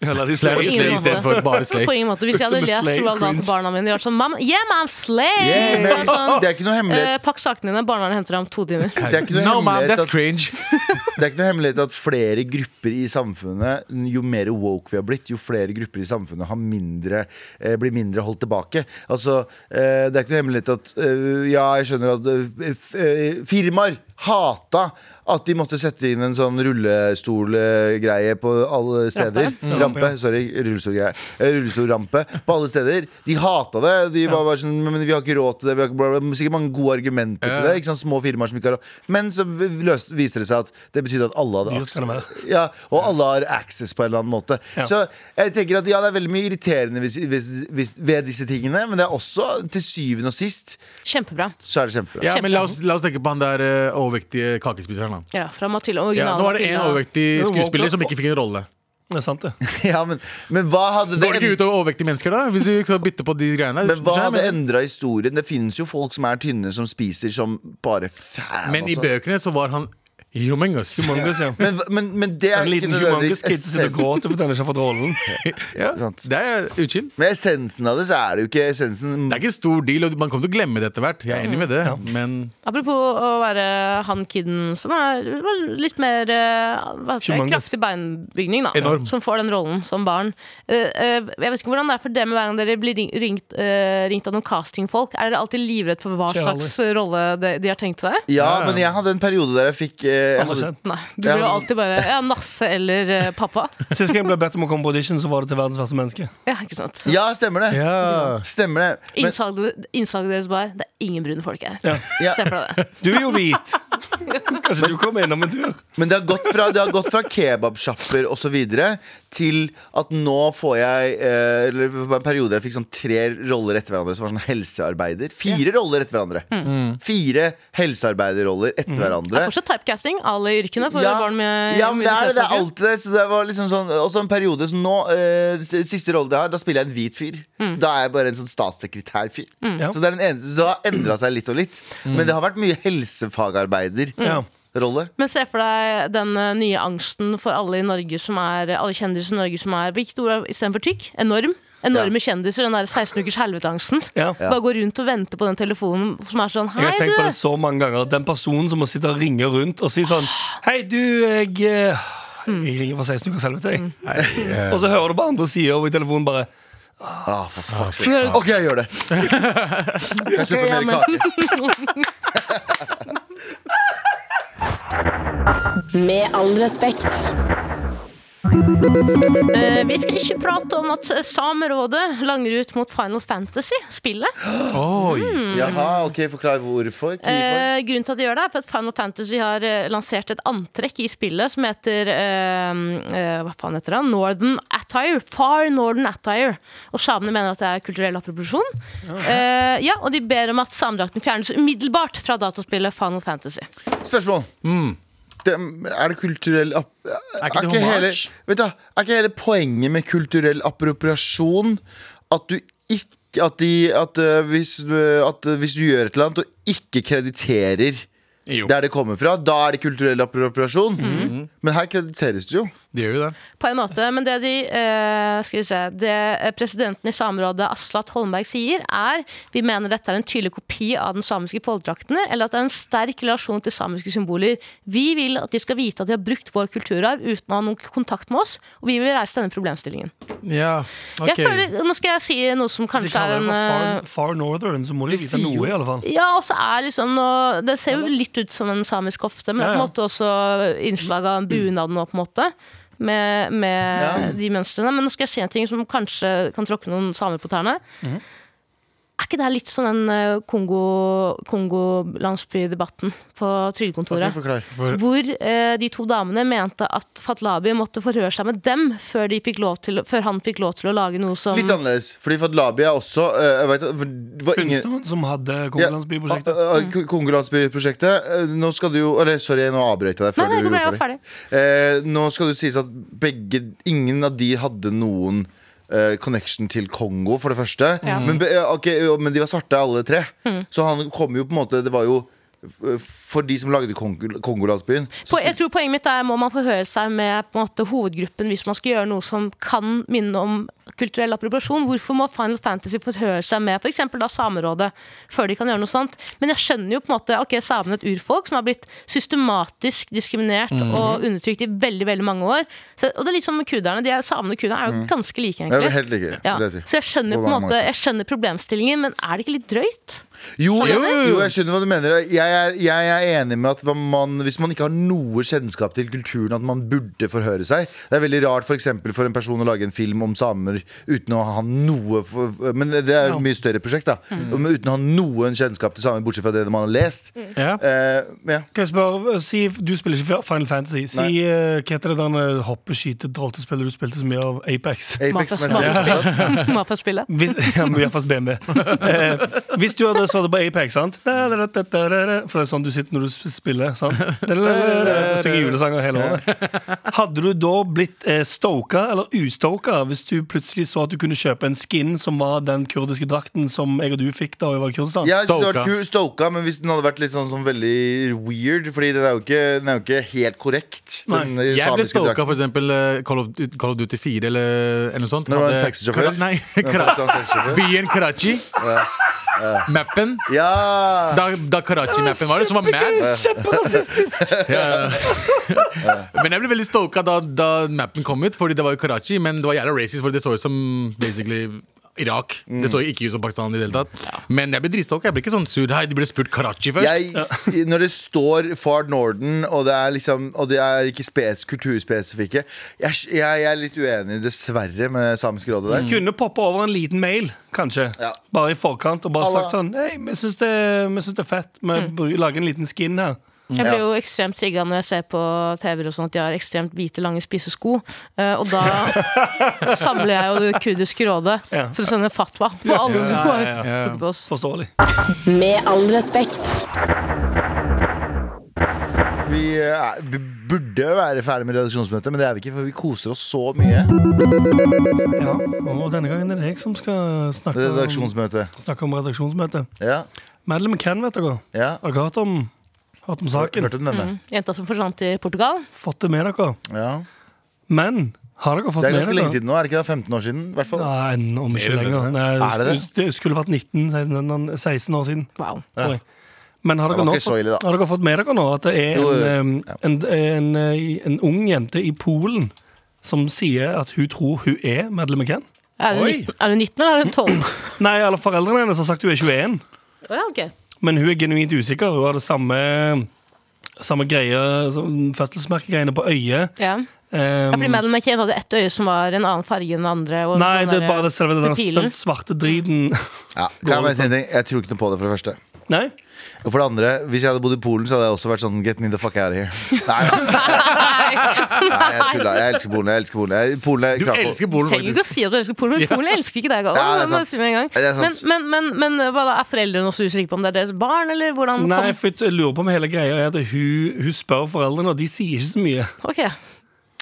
Eller de
Lær dem
ingen
slay
måte.
istedenfor bare slay.
På ingen måte. Hvis jeg hadde
Med
lest
slay
Roald Dahl
cringe.
til barna mine, de var sånn Mam, Yeah, ma'am, slay!
Yeah.
Så er det sånn,
Det er ikke noe
eh,
hemmelighet.
Pakk sakene dine, barnevernet henter deg om to
*laughs*
timer.
Det er ikke noe
No, man,
hemmelighet
that's
at-
cringe.
Det er ikke noe hemmelighet at flere grupper i samfunnet Jo mer woke vi har blitt, jo flere grupper i samfunnet har mindre, eh, blir mindre holdt tilbake. Altså, eh, Det er ikke noe hemmelighet at eh, Ja, jeg skjønner at eh, f- eh, firmaer hata at de måtte sette inn en sånn rullestolgreie på alle steder.
Rampe.
Mm.
Rampe. Sorry, rullestolgreie. Eh, Rullestolrampe på alle steder. De hata det. De var bare sånn Men vi har ikke råd til det. Vi har ikke bla, bla, bla. Sikkert mange gode argumenter til det. Ikke sant? Små firmaer som ikke har råd. Men så v- løste, viste det seg at det betydde at alle hadde
Dyrt skal det
aksjer. Ja, og alle har access på en eller annen måte.
Ja.
Så jeg tenker at ja, det er veldig mye irriterende hvis, hvis, hvis, ved disse tingene, men det er også til syvende og sist
Kjempebra.
så er det kjempebra.
Ja, men la oss, la oss tenke på han der eh, overvektige kakespiseren. da.
Ja, fra Matilda.
Ja,
Originalen.
nå var det én
Matilda.
overvektig
Det var
skuespiller
woke,
som
da.
ikke fikk en rolle.
Det er sant, det.
*laughs* Ja, men, men hva hadde det
Går det ikke ut over overvektige mennesker, da? Hvis du skal bytte på de greiene der?
Men hva hadde
Men-
endra historien? Det finnes jo folk som er tynne, som spiser som bare faen.
Men i
altså.
bøkene så var han Humongous.
Humongous, ja.
Men, men, men det er
En
ikke
liten humongous
nødvendigvis
kid som
essensen.
gråter fordi han ikke har fått
*laughs*
rollen.
*laughs* Ja,
Sant.
det er utskill.
Men essensen av det, så er det jo ikke essensen.
Det er ikke en stor deal, og man kommer til å glemme det etter hvert. Jeg er enig med det, men
Apropos å være han kiden som er litt mer eh, hva heter det,
Humongous.
kraftig beinbygning, da.
Enorm.
Som får den rollen som barn. Eh, eh, jeg vet ikke hvordan det er for dere, men hver gang dere blir ring- ringt, eh, ringt av noen castingfolk, er dere alltid livredd for hva
Skjer aldri.
slags rolle de, de har tenkt seg?
Ja,
Ja, ja.
men jeg hadde en periode der jeg fikk eh, jeg
Alle
hadde,
kjent.
Nei. Du
Ja,
blir jo
men-
alltid bare ja, Nasse eller eh, pappa.
Sist gang jeg ble bedt om å komme på audition, så var det til verdens verste menneske.
Ja, ikke sant?
Ja, stemmer det.
ja.
Stemmer det. Men,
Innsalget innsalget deres bare Det er ingen brune folk her.
Ja.
Ja.
Se for deg det.
Du er jo hvit. Kanskje du kommer innom en tur?
men det har gått fra, det har gått fra kebabsjapper osv. til at nå får jeg eh, Eller på en periode jeg fikk sånn tre roller etter hverandre som var sånn helsearbeider. Fire roller etter hverandre. Fire helsearbeiderroller etter
Mm. Det
hverandre.
er fortsatt typecasting, alle yrkene, for barn med
ja, men det er det. Det er
minoritetsbakgrunn.
alltid det. Så det var liksom sånn, også en periode som nå, eh, s- siste rolle jeg har, da spiller jeg en hvit fyr. Så
Mm.
Da er jeg bare en sånn statssekretærfyr.
Ja.
Så det, er den eneste, så det har endra seg litt og litt. Men det har vært mye helsefagarbeiderrolle.
Ja.
Men se for deg den eh, nye angsten for alle i Norge som er Alle kjendiser i Norge som er Hvilket ord er istedenfor tykk? Enorm. Enorme kjendiser. Den der 16 ukers helveteangsten.
Ja.
Bare gå rundt og vente på den telefonen som er sånn
Jeg
Hei,
har tenkt på det
du!
så mange ganger. Den personen som må sitte og ringe rundt og si sånn Hei, du, jeg eh, Jeg ringer for 16 uker selv til
Mm.
deg. Og så hører du på andre sida over i telefonen bare
Ah, for fuck's
Nå
sake.
er det-
OK, jeg gjør det. Kan jeg slippe
Ja,
mer
men-
kake?
Med all respekt.
*laughs* Eh, vi skal ikke prate om at eh, Samerådet langer ut mot Final Fantasy-spillet.
Oi.
Mm.
Jaha, OK, forklar hvorfor. Hvorfor?
Eh, grunnen til at de gjør det, er for at Final Fantasy har eh, lansert et antrekk i spillet som heter eh, eh, Hva faen heter det? Northern Attire. Far Northern Attire. Og samene mener at det er kulturell appropriasjon. Eh, ja, og de ber om at samedrakten fjernes umiddelbart fra dataspillet Final Fantasy.
Spørsmål. Det, er det kulturell app... Er
Mm. ikke det
hele,
hommage?
vet du, er ikke hele poenget med kulturell appropriasjon at du ikke at, de, at, eh, hvis, du- at eh, hvis du gjør et eller annet og ikke krediterer
Jo, Mm.
der det kommer fra, da er det kulturell appropriasjon. Men her krediteres det jo.
det gjør jo det.
På en måte, men det de eh, skal vi se, det eh, presidenten i Samerådet, Aslat Holmberg, sier, er vi mener dette er en tydelig kopi av den samiske folkedraktene, eller at det er en sterk relasjon til samiske symboler. Vi vil at de skal vite at de har brukt vår kulturarv uten å ha noen kontakt med oss, og vi vil reise denne problemstillingen.
Ja,
Jeg
ok.
føler, nå skal jeg si noe som
De
kanskje er
kaller det
en
for far,
eh,
far Northern, så må de
De
vite
sier jo-
noe, i alle fall.
ja, og så er liksom noe, Det ser jo litt ut som en samisk kofte, men det er på en
Ja, ja.
måte også innslag av en bunad nå, på en måte. Med, med
Ja.
de mønstrene. Men nå skal jeg si en ting som kanskje kan tråkke noen samer på tærne.
Mhm.
Er ikke det her litt sånn den eh, Kongo- Kongo-landsbydebatten på Trygdekontoret?
Forklar.
Hvor eh, de to damene mente at Fatlabi måtte forhøre seg med dem før, de fikk lov til, før han fikk lov til å lage noe som
Litt annerledes. Fordi Fadlabi er også eh, jeg vet, for det var ingen,
Kunstneren som hadde
Ja,
Kongelandsbyprosjektet.
ah, ah,
Mm.
Ko- Kongolandsbyprosjektet. eh, Nå skal du jo Eller sorry, nå avbrøt jeg deg. før
Nei,
du
nei, det ble
gjorde
jeg ferdig.
Eh, nå skal det sies at begge, ingen av de hadde noen eh, connection til Kongo, for det første. Men, be- eh, ok, jo, men de var svarte, alle tre.
Mm.
Så han kom jo på en måte Det var jo eh, for de som lagde Kongo, Kongolandsbyen.
Po- jeg tror Poenget mitt er må man forhøre seg med på en måte, hovedgruppen hvis man skal gjøre noe som kan minne om kulturell appropriasjon. Hvorfor må Final Fantasy forhøre seg med f.eks. Samerådet før de kan gjøre noe sånt? Men jeg skjønner jo på en måte ok, samene er et urfolk som har blitt systematisk diskriminert
Mhm.
og undertrykt i veldig veldig mange år. Så, og det er litt som med kurderne. De er, samene og kurderne er jo ganske like,
Mhm. Det er
egentlig.
helt like.
Ja.
vil jeg si.
Så jeg skjønner
På
på en
mange
måte,
måter.
jeg skjønner problemstillingen, men er det ikke litt drøyt?
Jo,
Skjønner
jo,
du?
jo, jeg skjønner hva du mener. Jeg er, jeg er enig med at hva man, hvis man ikke har noe kjennskap til kulturen, at man burde forhøre seg. Det er veldig rart for, eksempel, for en person å lage en film om samer uten å ha noe for, Men det er et mye større prosjekt, da.
Mm.
Men uten å ha noen kjennskap til samer, bortsett fra det man har lest.
Ja.
Eh, men ja.
Kan jeg spørre, eh, si, Du spiller ikke Final Fantasy. Si
Nei.
eh, hva heter det der hoppe, skyte, dralltespillet du spilte så mye av? Apex.
Apex
Mafia-
mest ja.
*laughs* Mafia-spillet.
Hvis, *laughs* ja, men i hvert fall BMW. Eh, hvis du hadde svart på Apex, sant? Da, da, da, da, da, da, da. For det er sånn du sitter når du sp- spiller. Sant? Da, da, da, da, da. Jeg Synger julesanger hele året. Hadde du da blitt eh, stoka eller ustoka hvis du plutselig plutselig så at du kunne kjøpe en skin som var den kurdiske drakten som jeg og du fikk da vi var i Kurdistan.
Jeg synes det hadde
Stoka.
vært kul, Stoka, men hvis den hadde vært litt sånn, sånn veldig weird Fordi den er jo ikke, den er jo ikke helt korrekt Den eh,
Nei,
Jeg ble
Mm, samiske
stalka
drakten
for eksempel eh, Call of, Call of Duty 4 eller, eller noe sånt.
Når det var en
Hadde-
taxisjåfør?
Kra- *laughs* Nei,
Den
Kra-
pakistanske sexsjåføren.
byen Karachi. Mappen.
Ja
Da, da Karachi-mappen var det, som var mad.
Kjemperasistisk!
Men jeg ble veldig stalka da, da mappen kom ut, fordi det var jo Karachi. Men det var jævla racist, for det så ut som basically Irak. Det så jo ikke ut som Pakistan i det hele tatt. Men jeg ble dritstalka. Jeg ble ikke sånn sur. Hei, de ble spurt Karachi først.
jeg, Når det står Far Norden Og det er liksom Og det er ikke spes, kulturspesifikke jeg, jeg, jeg er litt uenig dessverre med samiske rådet der
Kunne poppe over en liten mail, kanskje.
Mm. Ja.
Bare i forkant og bare
Alla.
sagt sånn Hei, vi syns det, vi syns det er fett. Vi bru- lager en liten skin her.
Jeg blir
Ja.
jo ekstremt trigga når jeg ser på TV-er og sånn at de har ekstremt hvite, lange spisesko. Eh, Og
*laughs*
da samler jeg jo det kurdiske rådet
Ja.
for å sende fatwa på alle som
Ja,
går
ja, ja.
Ja.
på oss.
Forståelig.
Med all respekt.
vi, er, vi burde være ferdig med redaksjonsmøtet Men det er vi ikke For vi koser oss så mye
Ja. Og denne gangen er det jeg som skal snakke om,
Redaksjonsmøtet
snakke om redaksjonsmøte.
Ja,
Madeleine McCann, vet dere.
ja
Har dere hørt om, hørt om saken?
Hørte du denne?
Jenta som forsvant i Portugal.
Fått det med dere?
Ja
Men har dere fått
Det er
med
ganske
dere
lenge siden nå, er det ikke det? 15 år siden, i hvert fall.
Nei, n- om ikke
Er det det?
lenger. Nei,
Er det det?
skulle- det skulle vært 19, 16 16 år siden.
Wow.
tror jeg. Men har
Det
dere,
var
nå
ikke så ille,
fått,
da.
har dere fått med dere nå at det er
Jo, jo, jo.
en, eh, en, en, eh, en ung jente i Polen som sier at hun tror hun er Madeleine McCann?
Er hun
Oi.
19, er hun 19 eller er hun
*clears throat*
12?
Nei, alle foreldrene hennes har sagt hun er 21,
Å ja, ok.
men hun er genuint usikker. Hun har det samme, samme greie, som fødselsmerkegreiene på øyet.
Ja.
Um,
Ja, fordi Madeleine McCann hadde ett øye som var en annen farge enn det andre. Og
Nei, det er bare det selve den,
sånn eh, pilen. Mm.
den svarte driten.
Ja, kan jeg, bare si en ting? jeg tror ikke noe på det, for det første.
*laughs* Nei?
Og for det andre, Hvis jeg hadde bodd i Polen, så hadde jeg også vært sånn Get me the fuck out of
*laughs*
here. Nei, nei jeg tulla. Jeg elsker Polen. Jeg elsker Polen. Jeg, Polen er
Du
krapo.
elsker
Du
Polen,
trenger ikke å
faktisk.
si at du elsker
*laughs*
Polen, men Polen elsker ikke deg. Galvan.
Ja, det er
Det må jeg
sant.
si med en gang.
Det er
Men,
sant.
men, men, men hva da, er foreldrene også usikre på om det er deres barn, eller hvordan kom-
Nei, for jeg lurer på om hele greia er at hun, hun spør foreldrene, og de sier ikke så mye.
Ok,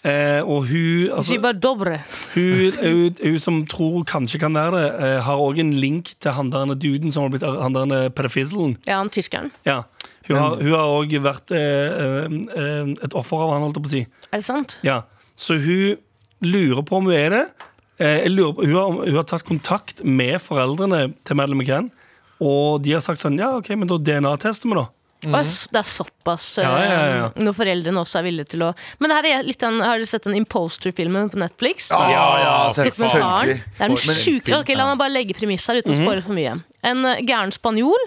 Eh, og hun, altså,
Sier bare dobre.
hun, hun, hun som tror kanskje kan være det, eh, har òg en link til han der duden som har blitt han der pedofiselen.
Ja, han tyskeren.
Ja. Hun har- hun har òg vært eh, eh, eh, et offer av han, holdt jeg på å si.
Er det sant?
Ja. Så hun lurer på om hun er det. Eh, jeg lurer på, hun, har, hun har tatt kontakt med foreldrene til Madeleine McCann, og de har sagt sånn Ja, OK, men da DNA-tester vi, da.
Oi, s- Det er såpass eh,
Mhm. Ja, ja, ja, ja.
Når foreldrene også er villige til å Men det her er litt den, Har du sett den Imposter-filmen på Netflix?
Ja, Ah, ja,
Dokumentaren.
selvfølgelig.
Det er den
For en
sjuke
film,
Ok, La meg bare legge premisset her uten
Mhm.
å spoile for mye. En eh, gæren spanjol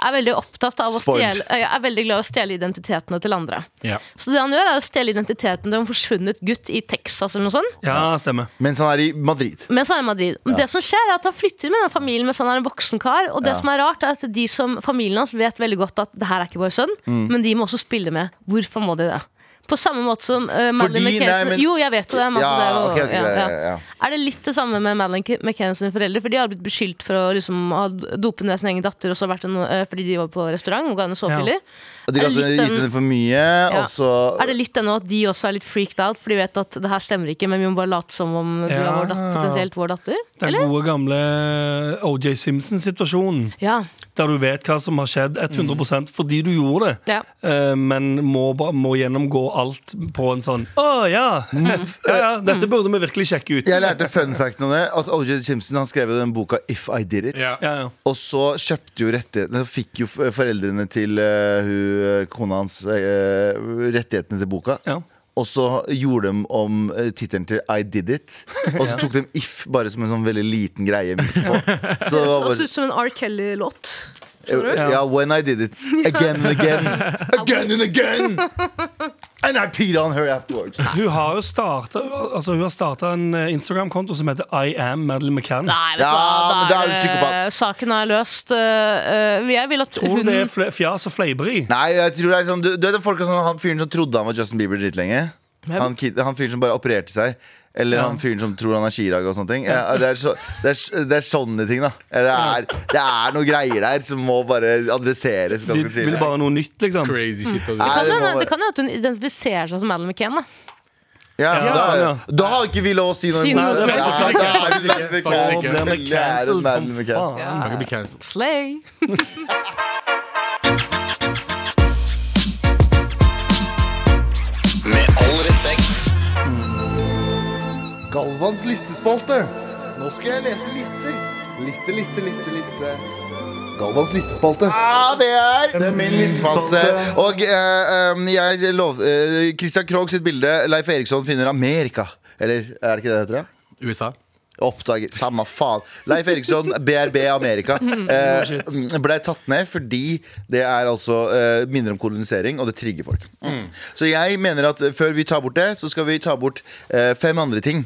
er veldig opptatt av å
Spoiled.
stjele, eh, er veldig glad i å stjele identitetene til andre.
Ja.
Så det han gjør, er å stjele identiteten til en forsvunnet gutt i Texas eller noe sånt.
Ja, stemmer.
Mens han er i Madrid.
Mens han er i Madrid. Men Det som skjer, er at han flytter med den familien mens han er en voksen kar. Og det som er rart, er at de som familien hans vet veldig godt at det her er ikke vår sønn,
Mm.
men de må også spille med. Hvorfor må de det? På samme måte som uh, Madeleine
Fordi-
McCann
nei, men-
Jo, jeg vet jo det. Men, altså, det er jo,
Ja, ok, ok,
ja,
ja,
ja.
ja, ja.
Er det litt det samme med Madeleine K- McCann sine foreldre? For de har blitt beskyldt for å liksom, ha dopet ned sin egen datter og så vært en, eh, fordi de var på restaurant og ga henne såpiller.
Og de
Er
kan
det
gitt
litt den-
henne for mye, og så
Er det litt det nå at de også er litt freaked out, for de vet at det her stemmer ikke, men vi må bare late som om du er
Ja.
vår datter, potensielt vår datter?
Den
Eller?
gode gamle OJ Simpson-situasjonen.
Ja.
Der du vet hva som har skjedd 100 fordi du gjorde det,
ja.
eh, men må, ba- må gjennomgå alt på en sånn Å ja, *laughs* ja, ja! Dette burde vi virkelig sjekke ut.
Jeg lærte fun facten om det. At OJ Simpson han skrev jo den boka If I Did It.
Ja.
Ja, ja.
Og så kjøpte jo rettighetene Så fikk jo f- foreldrene til eh, hun, kona hans eh, rettighetene til boka.
Ja.
Og så gjorde de om eh, tittelen til I Did It. Og så tok de If bare som en sånn veldig liten greie midt på. Så det var
Det
bare
ut som en R. Kelly-låt.
Ja, When I Did It. Again and again. Again and again! And I peed on her afterwards.
Hun har jo starta altså, hun har startet en eh, Instagram-konto som heter I am Madeleine McCann.
Nei, vet du
Ja,
hva.
men
Da
da er du
er,
psykopat.
eh, saken er løst. Eh, eh, jeg vil at
Tror
hun
du det er fle- fjas og fleiperi?
Nei, jeg tror det er sånn Du, du vet den folk, er sånn, han fyren som trodde han var Justin Bieber dritlenge?
Hvem?
Han, kid- han fyren som bare opererte seg. Eller han fyren som tror han er Chirag og sånne ting. Ja, det, er så, det, er, det er sånne ting, da. Ja, Det er, det er noen greier der som må bare adresseres.
De
ganske
vil
tidlig.
bare noe nytt, liksom.
Crazy shit.
Nei,
kan
Altså.
det må
hende-
være-
Det kan jo at hun identifiserer seg som Madeleine McCann. Da.
Ja,
Ja,
da,
sånn, ja.
da har ikke vi lov å si noe
Si
imot.
noe som
Ja,
helst.
da er det Madeleine
Og
McCann.
ble vi cancelled
Lære
som
Madeleine McCann.
faen.
Kan ikke bli cancelled.
Slay.
Med all respekt.
Galvans listespalte. Nå skal jeg lese lister. Liste, liste, liste, liste. Galvans listespalte. Ja, det er Det er min listespalte. Og eh, em, jeg lov... eh, Christian Krogh sitt bilde Leif Eriksson finner Amerika. Eller er det ikke det det heter? da?
USA.
Oppdager, Samme faen. Leif Eriksson, BRB Amerika,
*laughs* Mm,
eh, blei tatt ned fordi det er altså eh, minner om kolonisering, og det trigger folk.
Mm.
Mm. Så jeg mener at eh, før vi tar bort det, så skal vi ta bort eh, fem andre ting.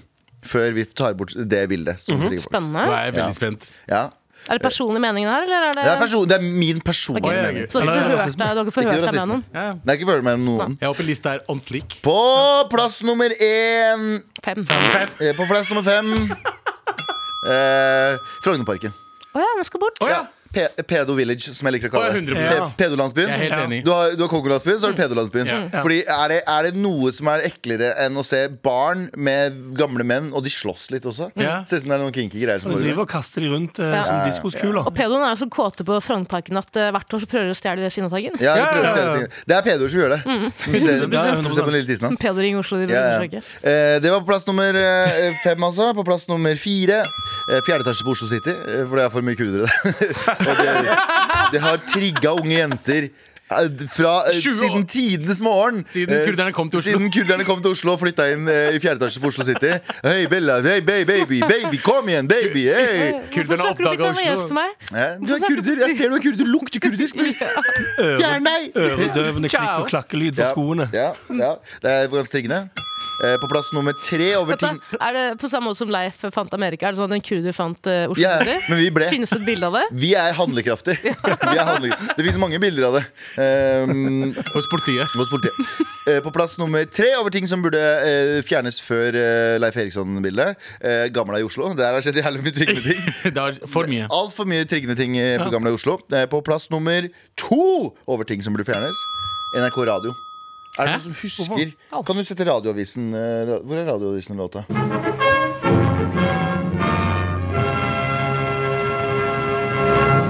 Før vi tar bort det bildet. Som trigger folk.
Nå
Mhm. Spennende.
er jeg veldig spent.
Ja.
Er det personlige meningen her, eller er det,
Det, er person, det er min personlige
Ok.
mening.
Så dere
Eller er det
har ikke
rasisme?
forhørt deg, dere har
Ikke noe
ikke forhørt deg med
rasisme.
noen?
Ja.
Det er ikke følelse mellom noen.
Jeg håper lista er on flik.
På plass nummer én
Fem.
eh, På plass nummer fem
*laughs*
eh, Frognerparken.
Å ja, den skal bort.
Å ja.
Pe Pedo Village, som jeg liker å kalle det.
Å, ja, 100%.
Pe- Pedolandsbyen.
Jeg er helt enig. Mm.
Du har, du har Kongolandsbyen, så har du pedolandsbyen.
Ja.
Ja.
Fordi er det, er det noe som er eklere enn å se barn med gamle menn, og de slåss litt også?
Ja.
Ser ut som det er noen kinky greier som
Du driver
foregår.
og kaster de rundt eh,
Ja.
som diskoskuler.
Og pedoen er jo så kåte på Frognerparken at eh, hvert år så prøver de å stjele det sinnataggen.
Ja, de prøver å
Ja, ja,
stjele
ja. Mm.
ting. Det er pedoer som gjør det. Du ser,
Ja, ja,
du ser på den lille tissen hans.
Pedoring i Oslo,
Ja,
de bryr
ja.
seg ikke.
Eh, Det var på plass nummer eh, fem, altså. På plass nummer fire. eh, Fjerde etasje på Oslo City, eh, for det *laughs* er for mye kurdere der. Og det, det har trigga unge jenter. eh, Fra, eh,
20 år.
siden tidenes morgen.
Siden
Eh,
kurderne kom til Oslo.
Siden kurderne kom til Oslo og flytta inn eh, i fjerde etasje på Oslo City. Hei, Bella. Hei, baby, baby, baby. Kom igjen, baby. Hei.
Kurderne
Hvorfor snakker du
oppdaget Oslo.
italiensk til meg?
Eh, Du er kurder. Jeg ser du er kurder. Lukt
*laughs*
kurdisk. Fjern deg.
Øredøvende klikk og klakkelyd fra skoene.
Ja, ja. Det er ganske triggende. Eh, På plass nummer tre over ting
Vent da, Er det på samme måte som Leif fant Amerika? Er det sånn at en kurder fant eh, Oslo?
Ja,
City?
men vi ble.
Finnes det et bilde av det?
Vi er handlekraftige. Vi er handlekraftige. Det finnes mange bilder av det ehm,
Hos politiet. *laughs*
hos politiet. Eh, På plass nummer tre over ting som burde eh, fjernes før eh, Leif Eriksson-bildet. Eh, Gamla i Oslo. Der har skjedd jævlig mye triggende ting.
Det er for mye.
Altfor mye triggende ting eh, på Gamla i Oslo. Eh, På plass nummer to over ting som burde fjernes, NRK Radio. Er det
Hæ?
noen som husker Kan du sette Radioavisen eh, ra- Hvor er Radioavisen-låta?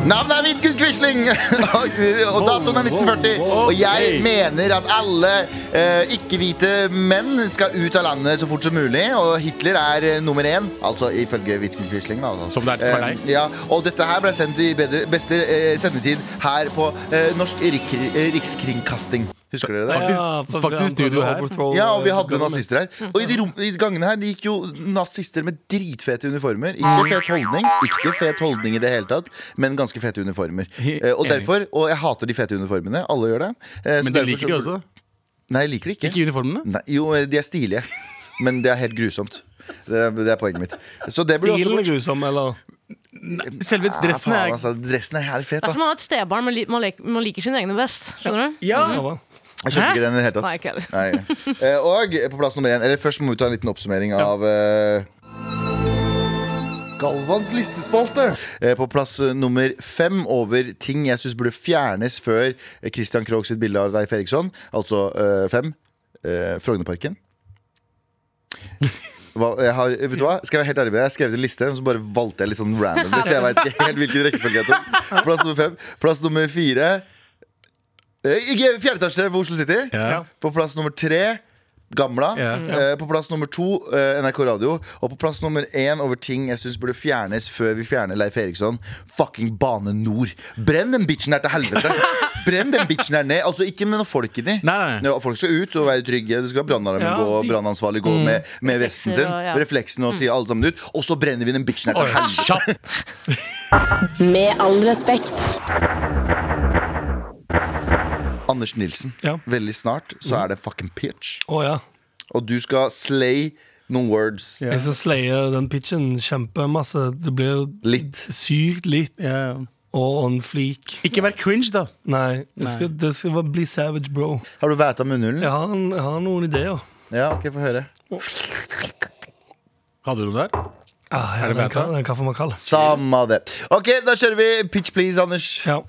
Navnet er Vidkun Quisling! *laughs* og og datoen er 1940. Og jeg
Ok.
mener at alle eh, ikke-hvite menn skal ut av landet så fort som mulig. Og Hitler er eh, nummer én, altså ifølge Vidkun Quisling. da, Altså.
Som det er for
Eh,
deg.
ja, og dette her ble sendt i bedre, beste eh, sendetid her på eh, Norsk rik, eh, Rikskringkasting. Husker dere det?
Faktisk- Mm.
for-
faktisk studio her.
overthrow,
Ja, og vi
eh,
hadde
government.
nazister her. Og i de, rom, i de gangene her det gikk jo nazister med dritfete uniformer.
Mm.
Ikke fet holdning, ikke fet holdning i det hele tatt, men ganske fete uniformer. Eh, og
Enig.
derfor, og jeg hater de fete uniformene. Alle gjør det. Eh, så
Men de
derfor så-
liker de også.
Nei, jeg liker de ikke.
Ikke uniformene.
Nei, jo, eh, de er stilige. Men det er helt grusomt. Det er, det er poenget mitt. Så det blir også
Stilen er
bort.
grusom, eller?
Selve
Ja,
dressen
faen,
er
altså, dressen er helt fet,
Det
da.
er som å ha et stebarn, men li- man, leker, man liker sine egne best. Skjønner du?
Ja!
Ja, hva?
Jeg skjønte ikke den i det hele tatt.
Nei, ikke heller.
Nei. Eh, Og på plass nummer én Eller først må vi ta en liten oppsummering av eh, Galvans listespalte. Eh, På plass eh, nummer fem over ting jeg syns burde fjernes før eh, Christian Krogh sitt bilde av Leif Eriksson. Altså eh, fem. Eh, Frognerparken. Hva, jeg har, vet du hva? Skal jeg være helt ærlig med deg? Jeg skrev en liste, og så bare valgte jeg litt sånn randomly. Så jeg vet ikke helt hvilken rekkefølge jeg tok. Plass nummer fem. Plass nummer fire. Eh, Ikke fjerde etasje på Oslo City.
Ja.
På plass nummer tre Gamla.
Ja.
Eh, på plass nummer to eh, NRK Radio. Og på plass nummer én over ting jeg syns burde fjernes før vi fjerner Leif Eriksson. Fucking Bane Nor. Brenn den bitchen her til
*laughs*
helvete! Brenn den bitchen her ned. Altså Ikke med noe folk inni.
Nei, nei, nei.
Ja, folk skal ut og være trygge. Det skal være brannalarmen
Ja,
gå, og
de-
brannansvarlig gå med,
Mm.
med vesten sin.
Reflekser og- ja.
Refleksen og si alle sammen ut. Og så brenner vi den bitchen her
Oi,
til helvete.
Kjapt.
Med all respekt.
Anders Nilsen.
Ja.
Veldig snart så
Mm.
er det fucking pitch.
Å ja.
Og du skal slay noen words.
Jeg skal sleie den pitchen kjempemasse. Det blir
Litt.
sykt litt og on fleak.
Ikke vær cringe, da.
Nei, det skal, det skal bare bli savage, bro.
Har du væta munnhulen?
Jeg har, en- jeg har noen ideer.
Ja, ok, få høre.
Hadde du noe der?
Ah, ja,
Er det
den
beta?
ka- Den kaffen man kaller.
Samme det. Ok, da kjører vi Pitch Please, Anders.
Ja.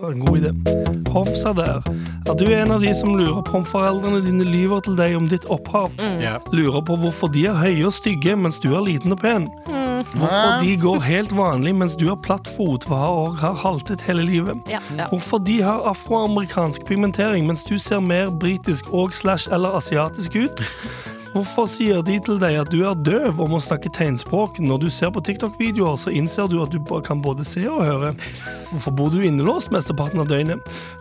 var en god idé. Hofsa der. Er du en av de som lurer på om foreldrene dine lyver til deg om ditt opphav?
Ja.
Lurer på hvorfor de er høye og stygge mens du er liten og pen?
Mm.
Hvorfor de går helt vanlig mens du har platt fot og har, og har haltet hele livet?
Ja, ja.
Hvorfor de har afroamerikansk pigmentering mens du ser mer britisk og slash eller asiatisk ut? Hvorfor sier de til deg at du er døv og må snakke tegnspråk? Når du ser på TikTok-videoer, så innser du at du ba- kan både se og høre. Hvorfor bor du innelåst mesteparten av døgnet?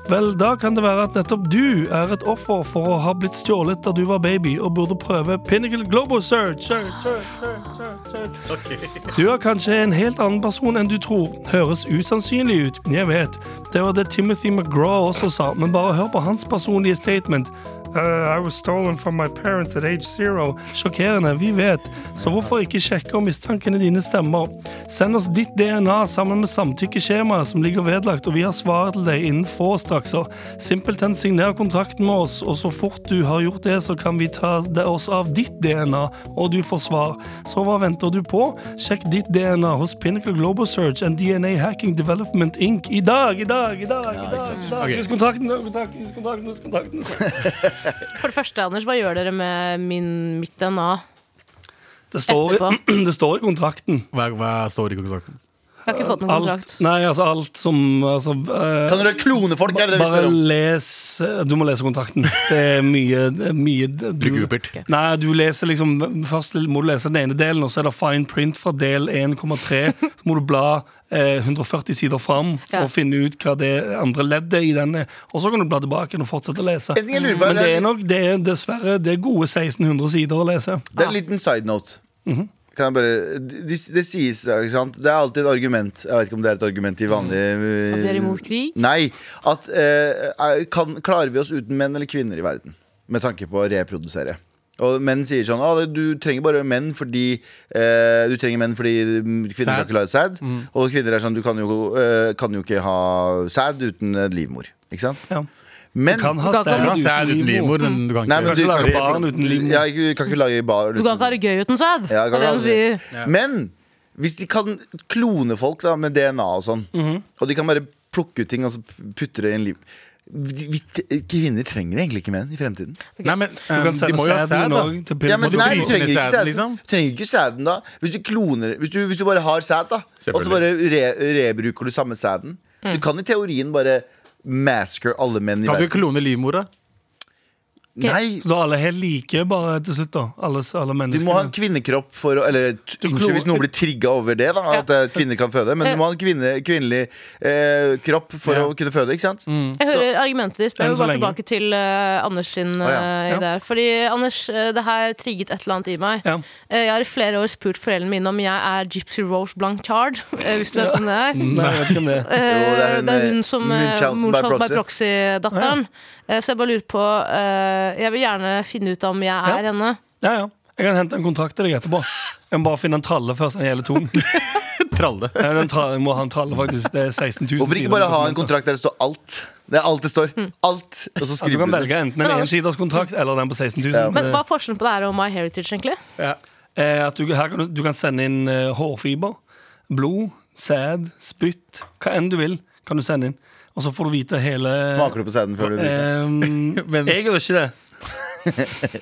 Vel, da kan det være at nettopp du er et offer for å ha blitt stjålet da du var baby og burde prøve Pinnacle Global Search. search, search, search, search, search. Du er kanskje en helt annen person enn du tror. Høres usannsynlig ut, jeg vet. Det var det Timothy McGraw også sa, men bare hør på hans personlige statement. Uh, I was stolen from my parents at age zero. Sjokkerende, vi vet. Så hvorfor ikke sjekke om mistankene dine stemmer? Send oss ditt DNA sammen med samtykkeskjemaet som ligger vedlagt, og vi har svaret til deg innen få strakser. Simpelthen signer kontrakten med oss, og så fort du har gjort det, så kan vi ta det oss av ditt DNA, og du får svar. Så hva venter du på? Sjekk ditt DNA hos Pinnacle Global Search and DNA Hacking Development Inc. i dag, i dag, i dag! i dag, i dag.
Ok.
Hus kontrakten, hus kontrakten, hus kontrakten, hus kontrakten.
For det første, Anders, hva gjør dere med min, mitt DNA?
Det står, i, *clears throat* det står i kontrakten.
Hva, hva står i kontrakten?
Jeg har ikke fått noen
Alt,
kontrakt.
nei, altså alt som altså, eh,
Kan dere klone folk? Er det det vi
Bare
spør om?
les Du må lese kontrakten. Det er mye, det er mye
Blir
du,
Gupert.
Nei, du leser liksom Først må du lese den ene delen, og så er det fine print fra del 1,3. Så må du bla eh, 140 sider fram for
Ja.
å finne ut hva det andre leddet i den er. Og så kan du bla tilbake igjen og fortsette å lese.
En ting jeg lurer på,
Men
det
det
er
er nok det er dessverre det er gode 1600 sider å lese.
Det er en liten side note. Kan jeg bare Det det sies, ikke sant? Det er alltid et argument. Jeg vet ikke om det er et argument i vanlig
At vi er imot krig?
Nei. At eh, er- kan, klarer vi oss uten menn eller kvinner i verden? Med tanke på å reprodusere. Og menn sier sånn ah, Du trenger bare menn fordi eh, Du trenger menn fordi mm, kvinner kan
Sæd.
ikke lage sæd. Og kvinner er sånn Du kan jo, eh, kan jo ikke ha sæd uten en livmor. Ikke sant?
Ja.
Men
Kan ha
Du kan ikke
sæd
Du kan se her uten livmor. Den, du kan
Nei, men
ikke.
Kanskje
du kan
lage
ikke-
barn uten livmor.
Ja, ikke- du kan ikke lage barn
Du
uten
kan ikke ha det gøy uten sæd?
Ja, jeg
det
kan
er det de
aldri-
sier.
Men hvis de kan klone folk da med DNA og sånn,
Mhm.
og de kan bare plukke ut ting og så putte det i en liv vi, vi, Kvinner trenger egentlig ikke menn i fremtiden.
Nei, men
Du
eh,
kan
de
sende
må jo ha sæd,
sæden
da.
òg til
Ja, men
du
nei,
fryse
du trenger
ned
ikke
sæden,
sæden.
liksom?
Du trenger ikke sæden da Hvis du kloner Hvis du, hvis du bare har sæd, da og så
Selvfølgelig.
bare re, rebruker du samme sæden
Mm.
Du kan i teorien bare massacre alle menn i
Kan du ikke
verden.
klone livmora?
Nei,
Så da er alle helt like bare til slutt, da. Alle, alle
du
menneskene.
må ha en kvinnekropp for å Eller t-
Du
unnskyld
klo-
hvis noen blir trigga over det, da, at eh, kvinner kan føde, men du må ha en kvinne, kvinnelig eh, kropp for
Ja.
å kunne føde, ikke sant?
Mm.
Jeg hører argumentet ditt, men jeg
Enn
vil
så
bare
lenge.
tilbake til eh, Anders sin
ja.
eh,
Ja.
idé her. Fordi Anders, eh, det her trigget et eller annet i meg.
Ja.
Eh, jeg har i flere år spurt foreldrene mine om jeg er Gypsy Rose Blanchard, *laughs* eh, hvis du vet hvem det er.
Nei, jeg vet ikke om det. er.
Eh,
Jo, det er hun,
det er hun
eh,
som eh,
Munchausen by
Munchausen by
proxy.
proxy-datteren. Eh, Så jeg bare lurer på eh, Jeg vil gjerne finne ut om jeg er
Ja.
henne.
*laughs* Ja, ja. Jeg kan hente en kontrakt til deg etterpå. Jeg må bare finne en tralle først. Den gjelder *laughs* tung.
Tralle.
Nei, den tra- Jeg må ha en tralle, faktisk. Det er 16 000
Hvorfor ikke
sider
bare ha en
dokumenter.
kontrakt der det står alt? Det er alt det står.
Mm.
Alt! Og så
Ja, du
skriver du
kan
det.
velge enten en
Men Anders-
ensiders kontrakt eller den på 16 000.
Ja.
Men hva er forskjellen på det her og My Heritage, egentlig?
Ja.
Eh, at du, her kan du, du kan sende inn eh, hårfiber, blod, sæd, spytt, hva enn du vil. Kan du sende inn Og så får du vite hele
Smaker du på sæden før du bruker den?
Eh,
*laughs*
Men,
Jeg gjør ikke det.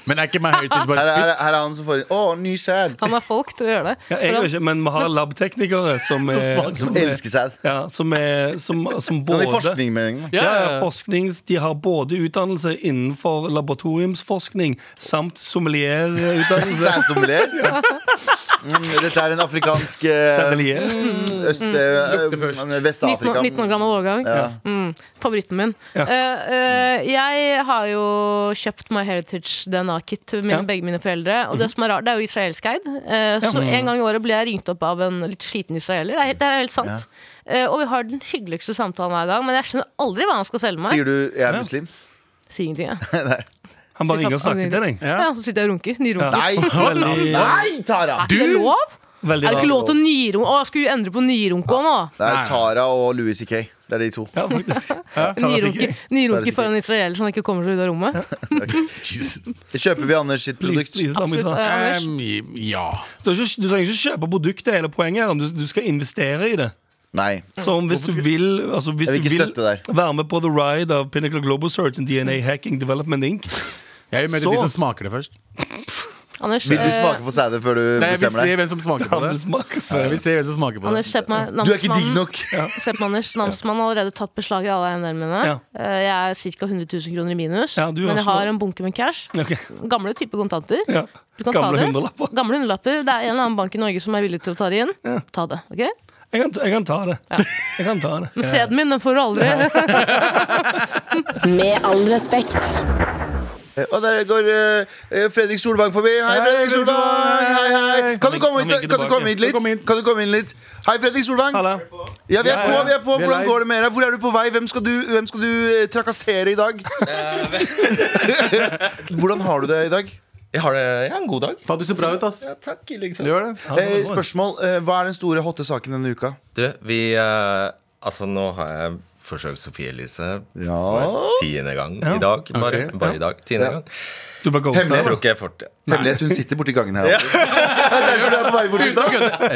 men er ikke my heritage bare
Her, er- her, er-
spytt?
her er han som får Å, ny sæd!
Han er folk til å gjøre det.
Ja, jeg gjør ikke men vi har labteknikere som, er,
smaker-
Som elsker sæd.
ja, som, er, som, som
Sånn i
både
forskning med en gang.
Ja,
Ja,
ja,
ja,
ja.
forskning, De har både utdannelse innenfor laboratoriumsforskning samt
*laughs*
sommelierutdannelse. *laughs*
Sædsommelier. Mm, dette er en afrikansk eh,
Sommelier.
Mm.
øst, eh,
Lukter først.
eh,
19, år-
Vest-Afrika.
19 år gammel årgang. Mm, favoritten min. Eh, eh, jeg har jo kjøpt My Heritage DNA-kit til mine,
Ja. Mhm.
begge mine foreldre. Og det som er rart, det er jo israelskeid. Eh, Så en gang i året ble jeg ringt opp av en litt sliten israeler. Det er, helt- det er helt sant. Eh, og vi har den hyggeligste samtalen hver gang, men jeg skjønner aldri hva han skal selge meg.
Sier du 'jeg er muslim'?
Si ingenting, jeg.
Han bare ringer og snakker til deg.
Ja. så sitter jeg og runker. Nyrunker.
Nei!
Veldig-
Nei, Tara!
Er det lov?
Veldig
Er det
rart.
ikke lov til å nyrunke? Å, skal vi endre på nyrunke òg nå?
Det er Tara og Louis C.K. Det er de to.
Ja,
*laughs*
faktisk.
Nyrunke,
Tar det
nyrunke
sikkert.
for en israeler som ikke kommer seg ut av rommet?
Kjøper vi Anders sitt
Please,
produkt?
please, la meg
Absolutt.
dra.
eh, Anders.
Um, ja.
Du trenger ikke du trenger ikke kjøpe produktet, hele poenget er om du, du skal investere i det.
Nei.
Så om hvis du vil, altså hvis
Jeg vil
du
ikke
vil
støtte der.
være med på The Ride av Pinnacle Global Search and DNA Hacking Development Inc. *laughs*
Jeg er mer til
Så-
de som smaker det først.
Anders,
Vil du
eh,
smake på sædet før du
Nei, jeg vil
bestemmer
se
deg?
hvem som smaker på det.
Gammelsmak.
Jeg vil se hvem som smaker på
Anders,
det.
se på meg.
Du er ikke digg
Namsmannen-
nok.
Se på meg, Anders. Namsmannen har allerede tatt beslag i alle eiendelene mine.
Ja.
Eh, Jeg er ca. 100 000 kroner i minus,
Ja, du er
men jeg
også-
har en bunke med cash.
Ok,
Gamle type kontanter.
ja.
Du kan
Gamle
ta det.
hundrelapper.
Gamle hundrelapper. Det er en eller annen bank i Norge som er villig til å ta det inn. Ta det. ok?
Jeg kan, jeg kan ta det.
Ja.
Jeg kan ta det.
Men sæden min, den får du aldri. *laughs*
Med all respekt.
Og der går eh, Fredrik Solvang forbi. Hei, Fredrik Solvang! Hei, hei! Kan du komme
Han gikk
hit, kan du
tilbake.
komme hit litt?
Kom inn.
Kan du komme inn litt? Hei, Fredrik Solvang!
Halla.
Ja, vi er
Ja,
på,
ja.
vi er på.
Vi er
Hvordan
live.
går det med deg? Hvor er du på vei? Hvem skal du, hvem skal du eh, trakassere i dag?
Eh, *laughs*
*laughs* Hvordan har du det i dag?
Jeg har, det, jeg har en god dag.
Faen, du ser bra ut, ass.
takk,
Du gjør det.
Eh, spørsmål. eh, Hva er den store hotte saken denne uka?
Du, vi eh, Altså, nå har jeg forsøkt Sofie Elise
Ja
for tiende gang i dag. Bare,
Ok.
bare i dag. Tiende
Ja.
gang.
Du bare går
Jeg
Hemmelig.
over.
tror ikke jeg får til.
Hemmelighet. Hun sitter borti gangen her. Altså. *laughs* Det er derfor du er på vei bort dit, da.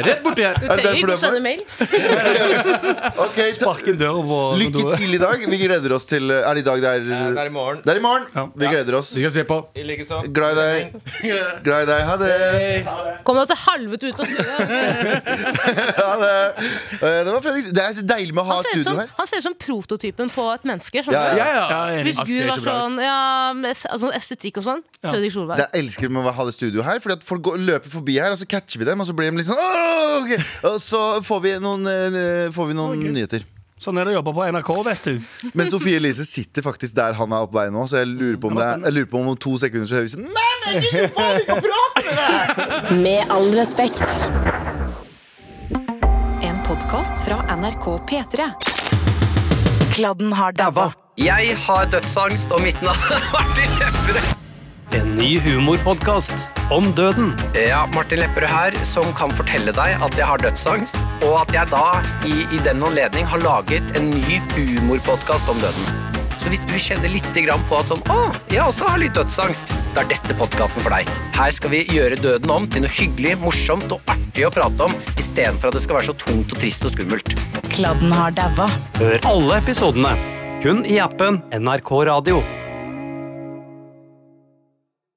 Rett borti her.
Du
derfor det
trenger ikke å
er for-
sende mail.
Ok, ta,
Spark inn døra på
Lykke til i dag. Vi gleder oss til Er det i dag det er
Eh, Det er i morgen.
Det er i morgen.
Ja.
Vi gleder oss.
Vi skal se på.
I likeså.
Glad i
*laughs*
deg. Glad i deg. Ha det.
Kom deg til helvete ut av studioet.
Ha det. Eh, Det, var Fredrik. det er så deilig med å ha
Han ser ut
studio
som, sånn.
her.
han ser ut som prototypen på et menneske. skjønner
Ja,
du?
Ja,
ja.
ja.
Ja, jeg er enig.
Hvis
Han
Gud
ser
var
så bra ut.
sånn ja, med s- altså, estetikk og sånn. Fredrik Solveig.
Det er elsker med å ha det studioet her, Fordi at folk går, løper forbi her, og så catcher vi dem. Og så blir de litt sånn «Åh, ok!» Og så får vi noen, eh, får vi noen nyheter.
Sånn er det å jobbe på NRK, vet du.
Men Sofie Elise sitter faktisk der han er på vei nå, så jeg lurer på om, det er, jeg lurer på om, om to sekunder så hører vi sånn Nei, men jeg gidder faen ikke å prate med deg!
Med all respekt.
En podkast fra NRK P3. Kladden har daua.
Jeg har dødsangst, og mitt navn er Martin Lepperød.
En ny humorpodkast om døden.
Ja, Martin Lepperød her, som kan fortelle deg at jeg har dødsangst, og at jeg da, i, i den anledning, har laget en ny humorpodkast om døden. Så hvis du kjenner litt grann på at sånn, å, jeg også har litt dødsangst, da er dette podkasten for deg. Her skal vi gjøre døden om til noe hyggelig, morsomt og artig å prate om, istedenfor at det skal være så tungt og trist og skummelt.
Kladden har daua.
Hør alle episodene kun i appen NRK Radio.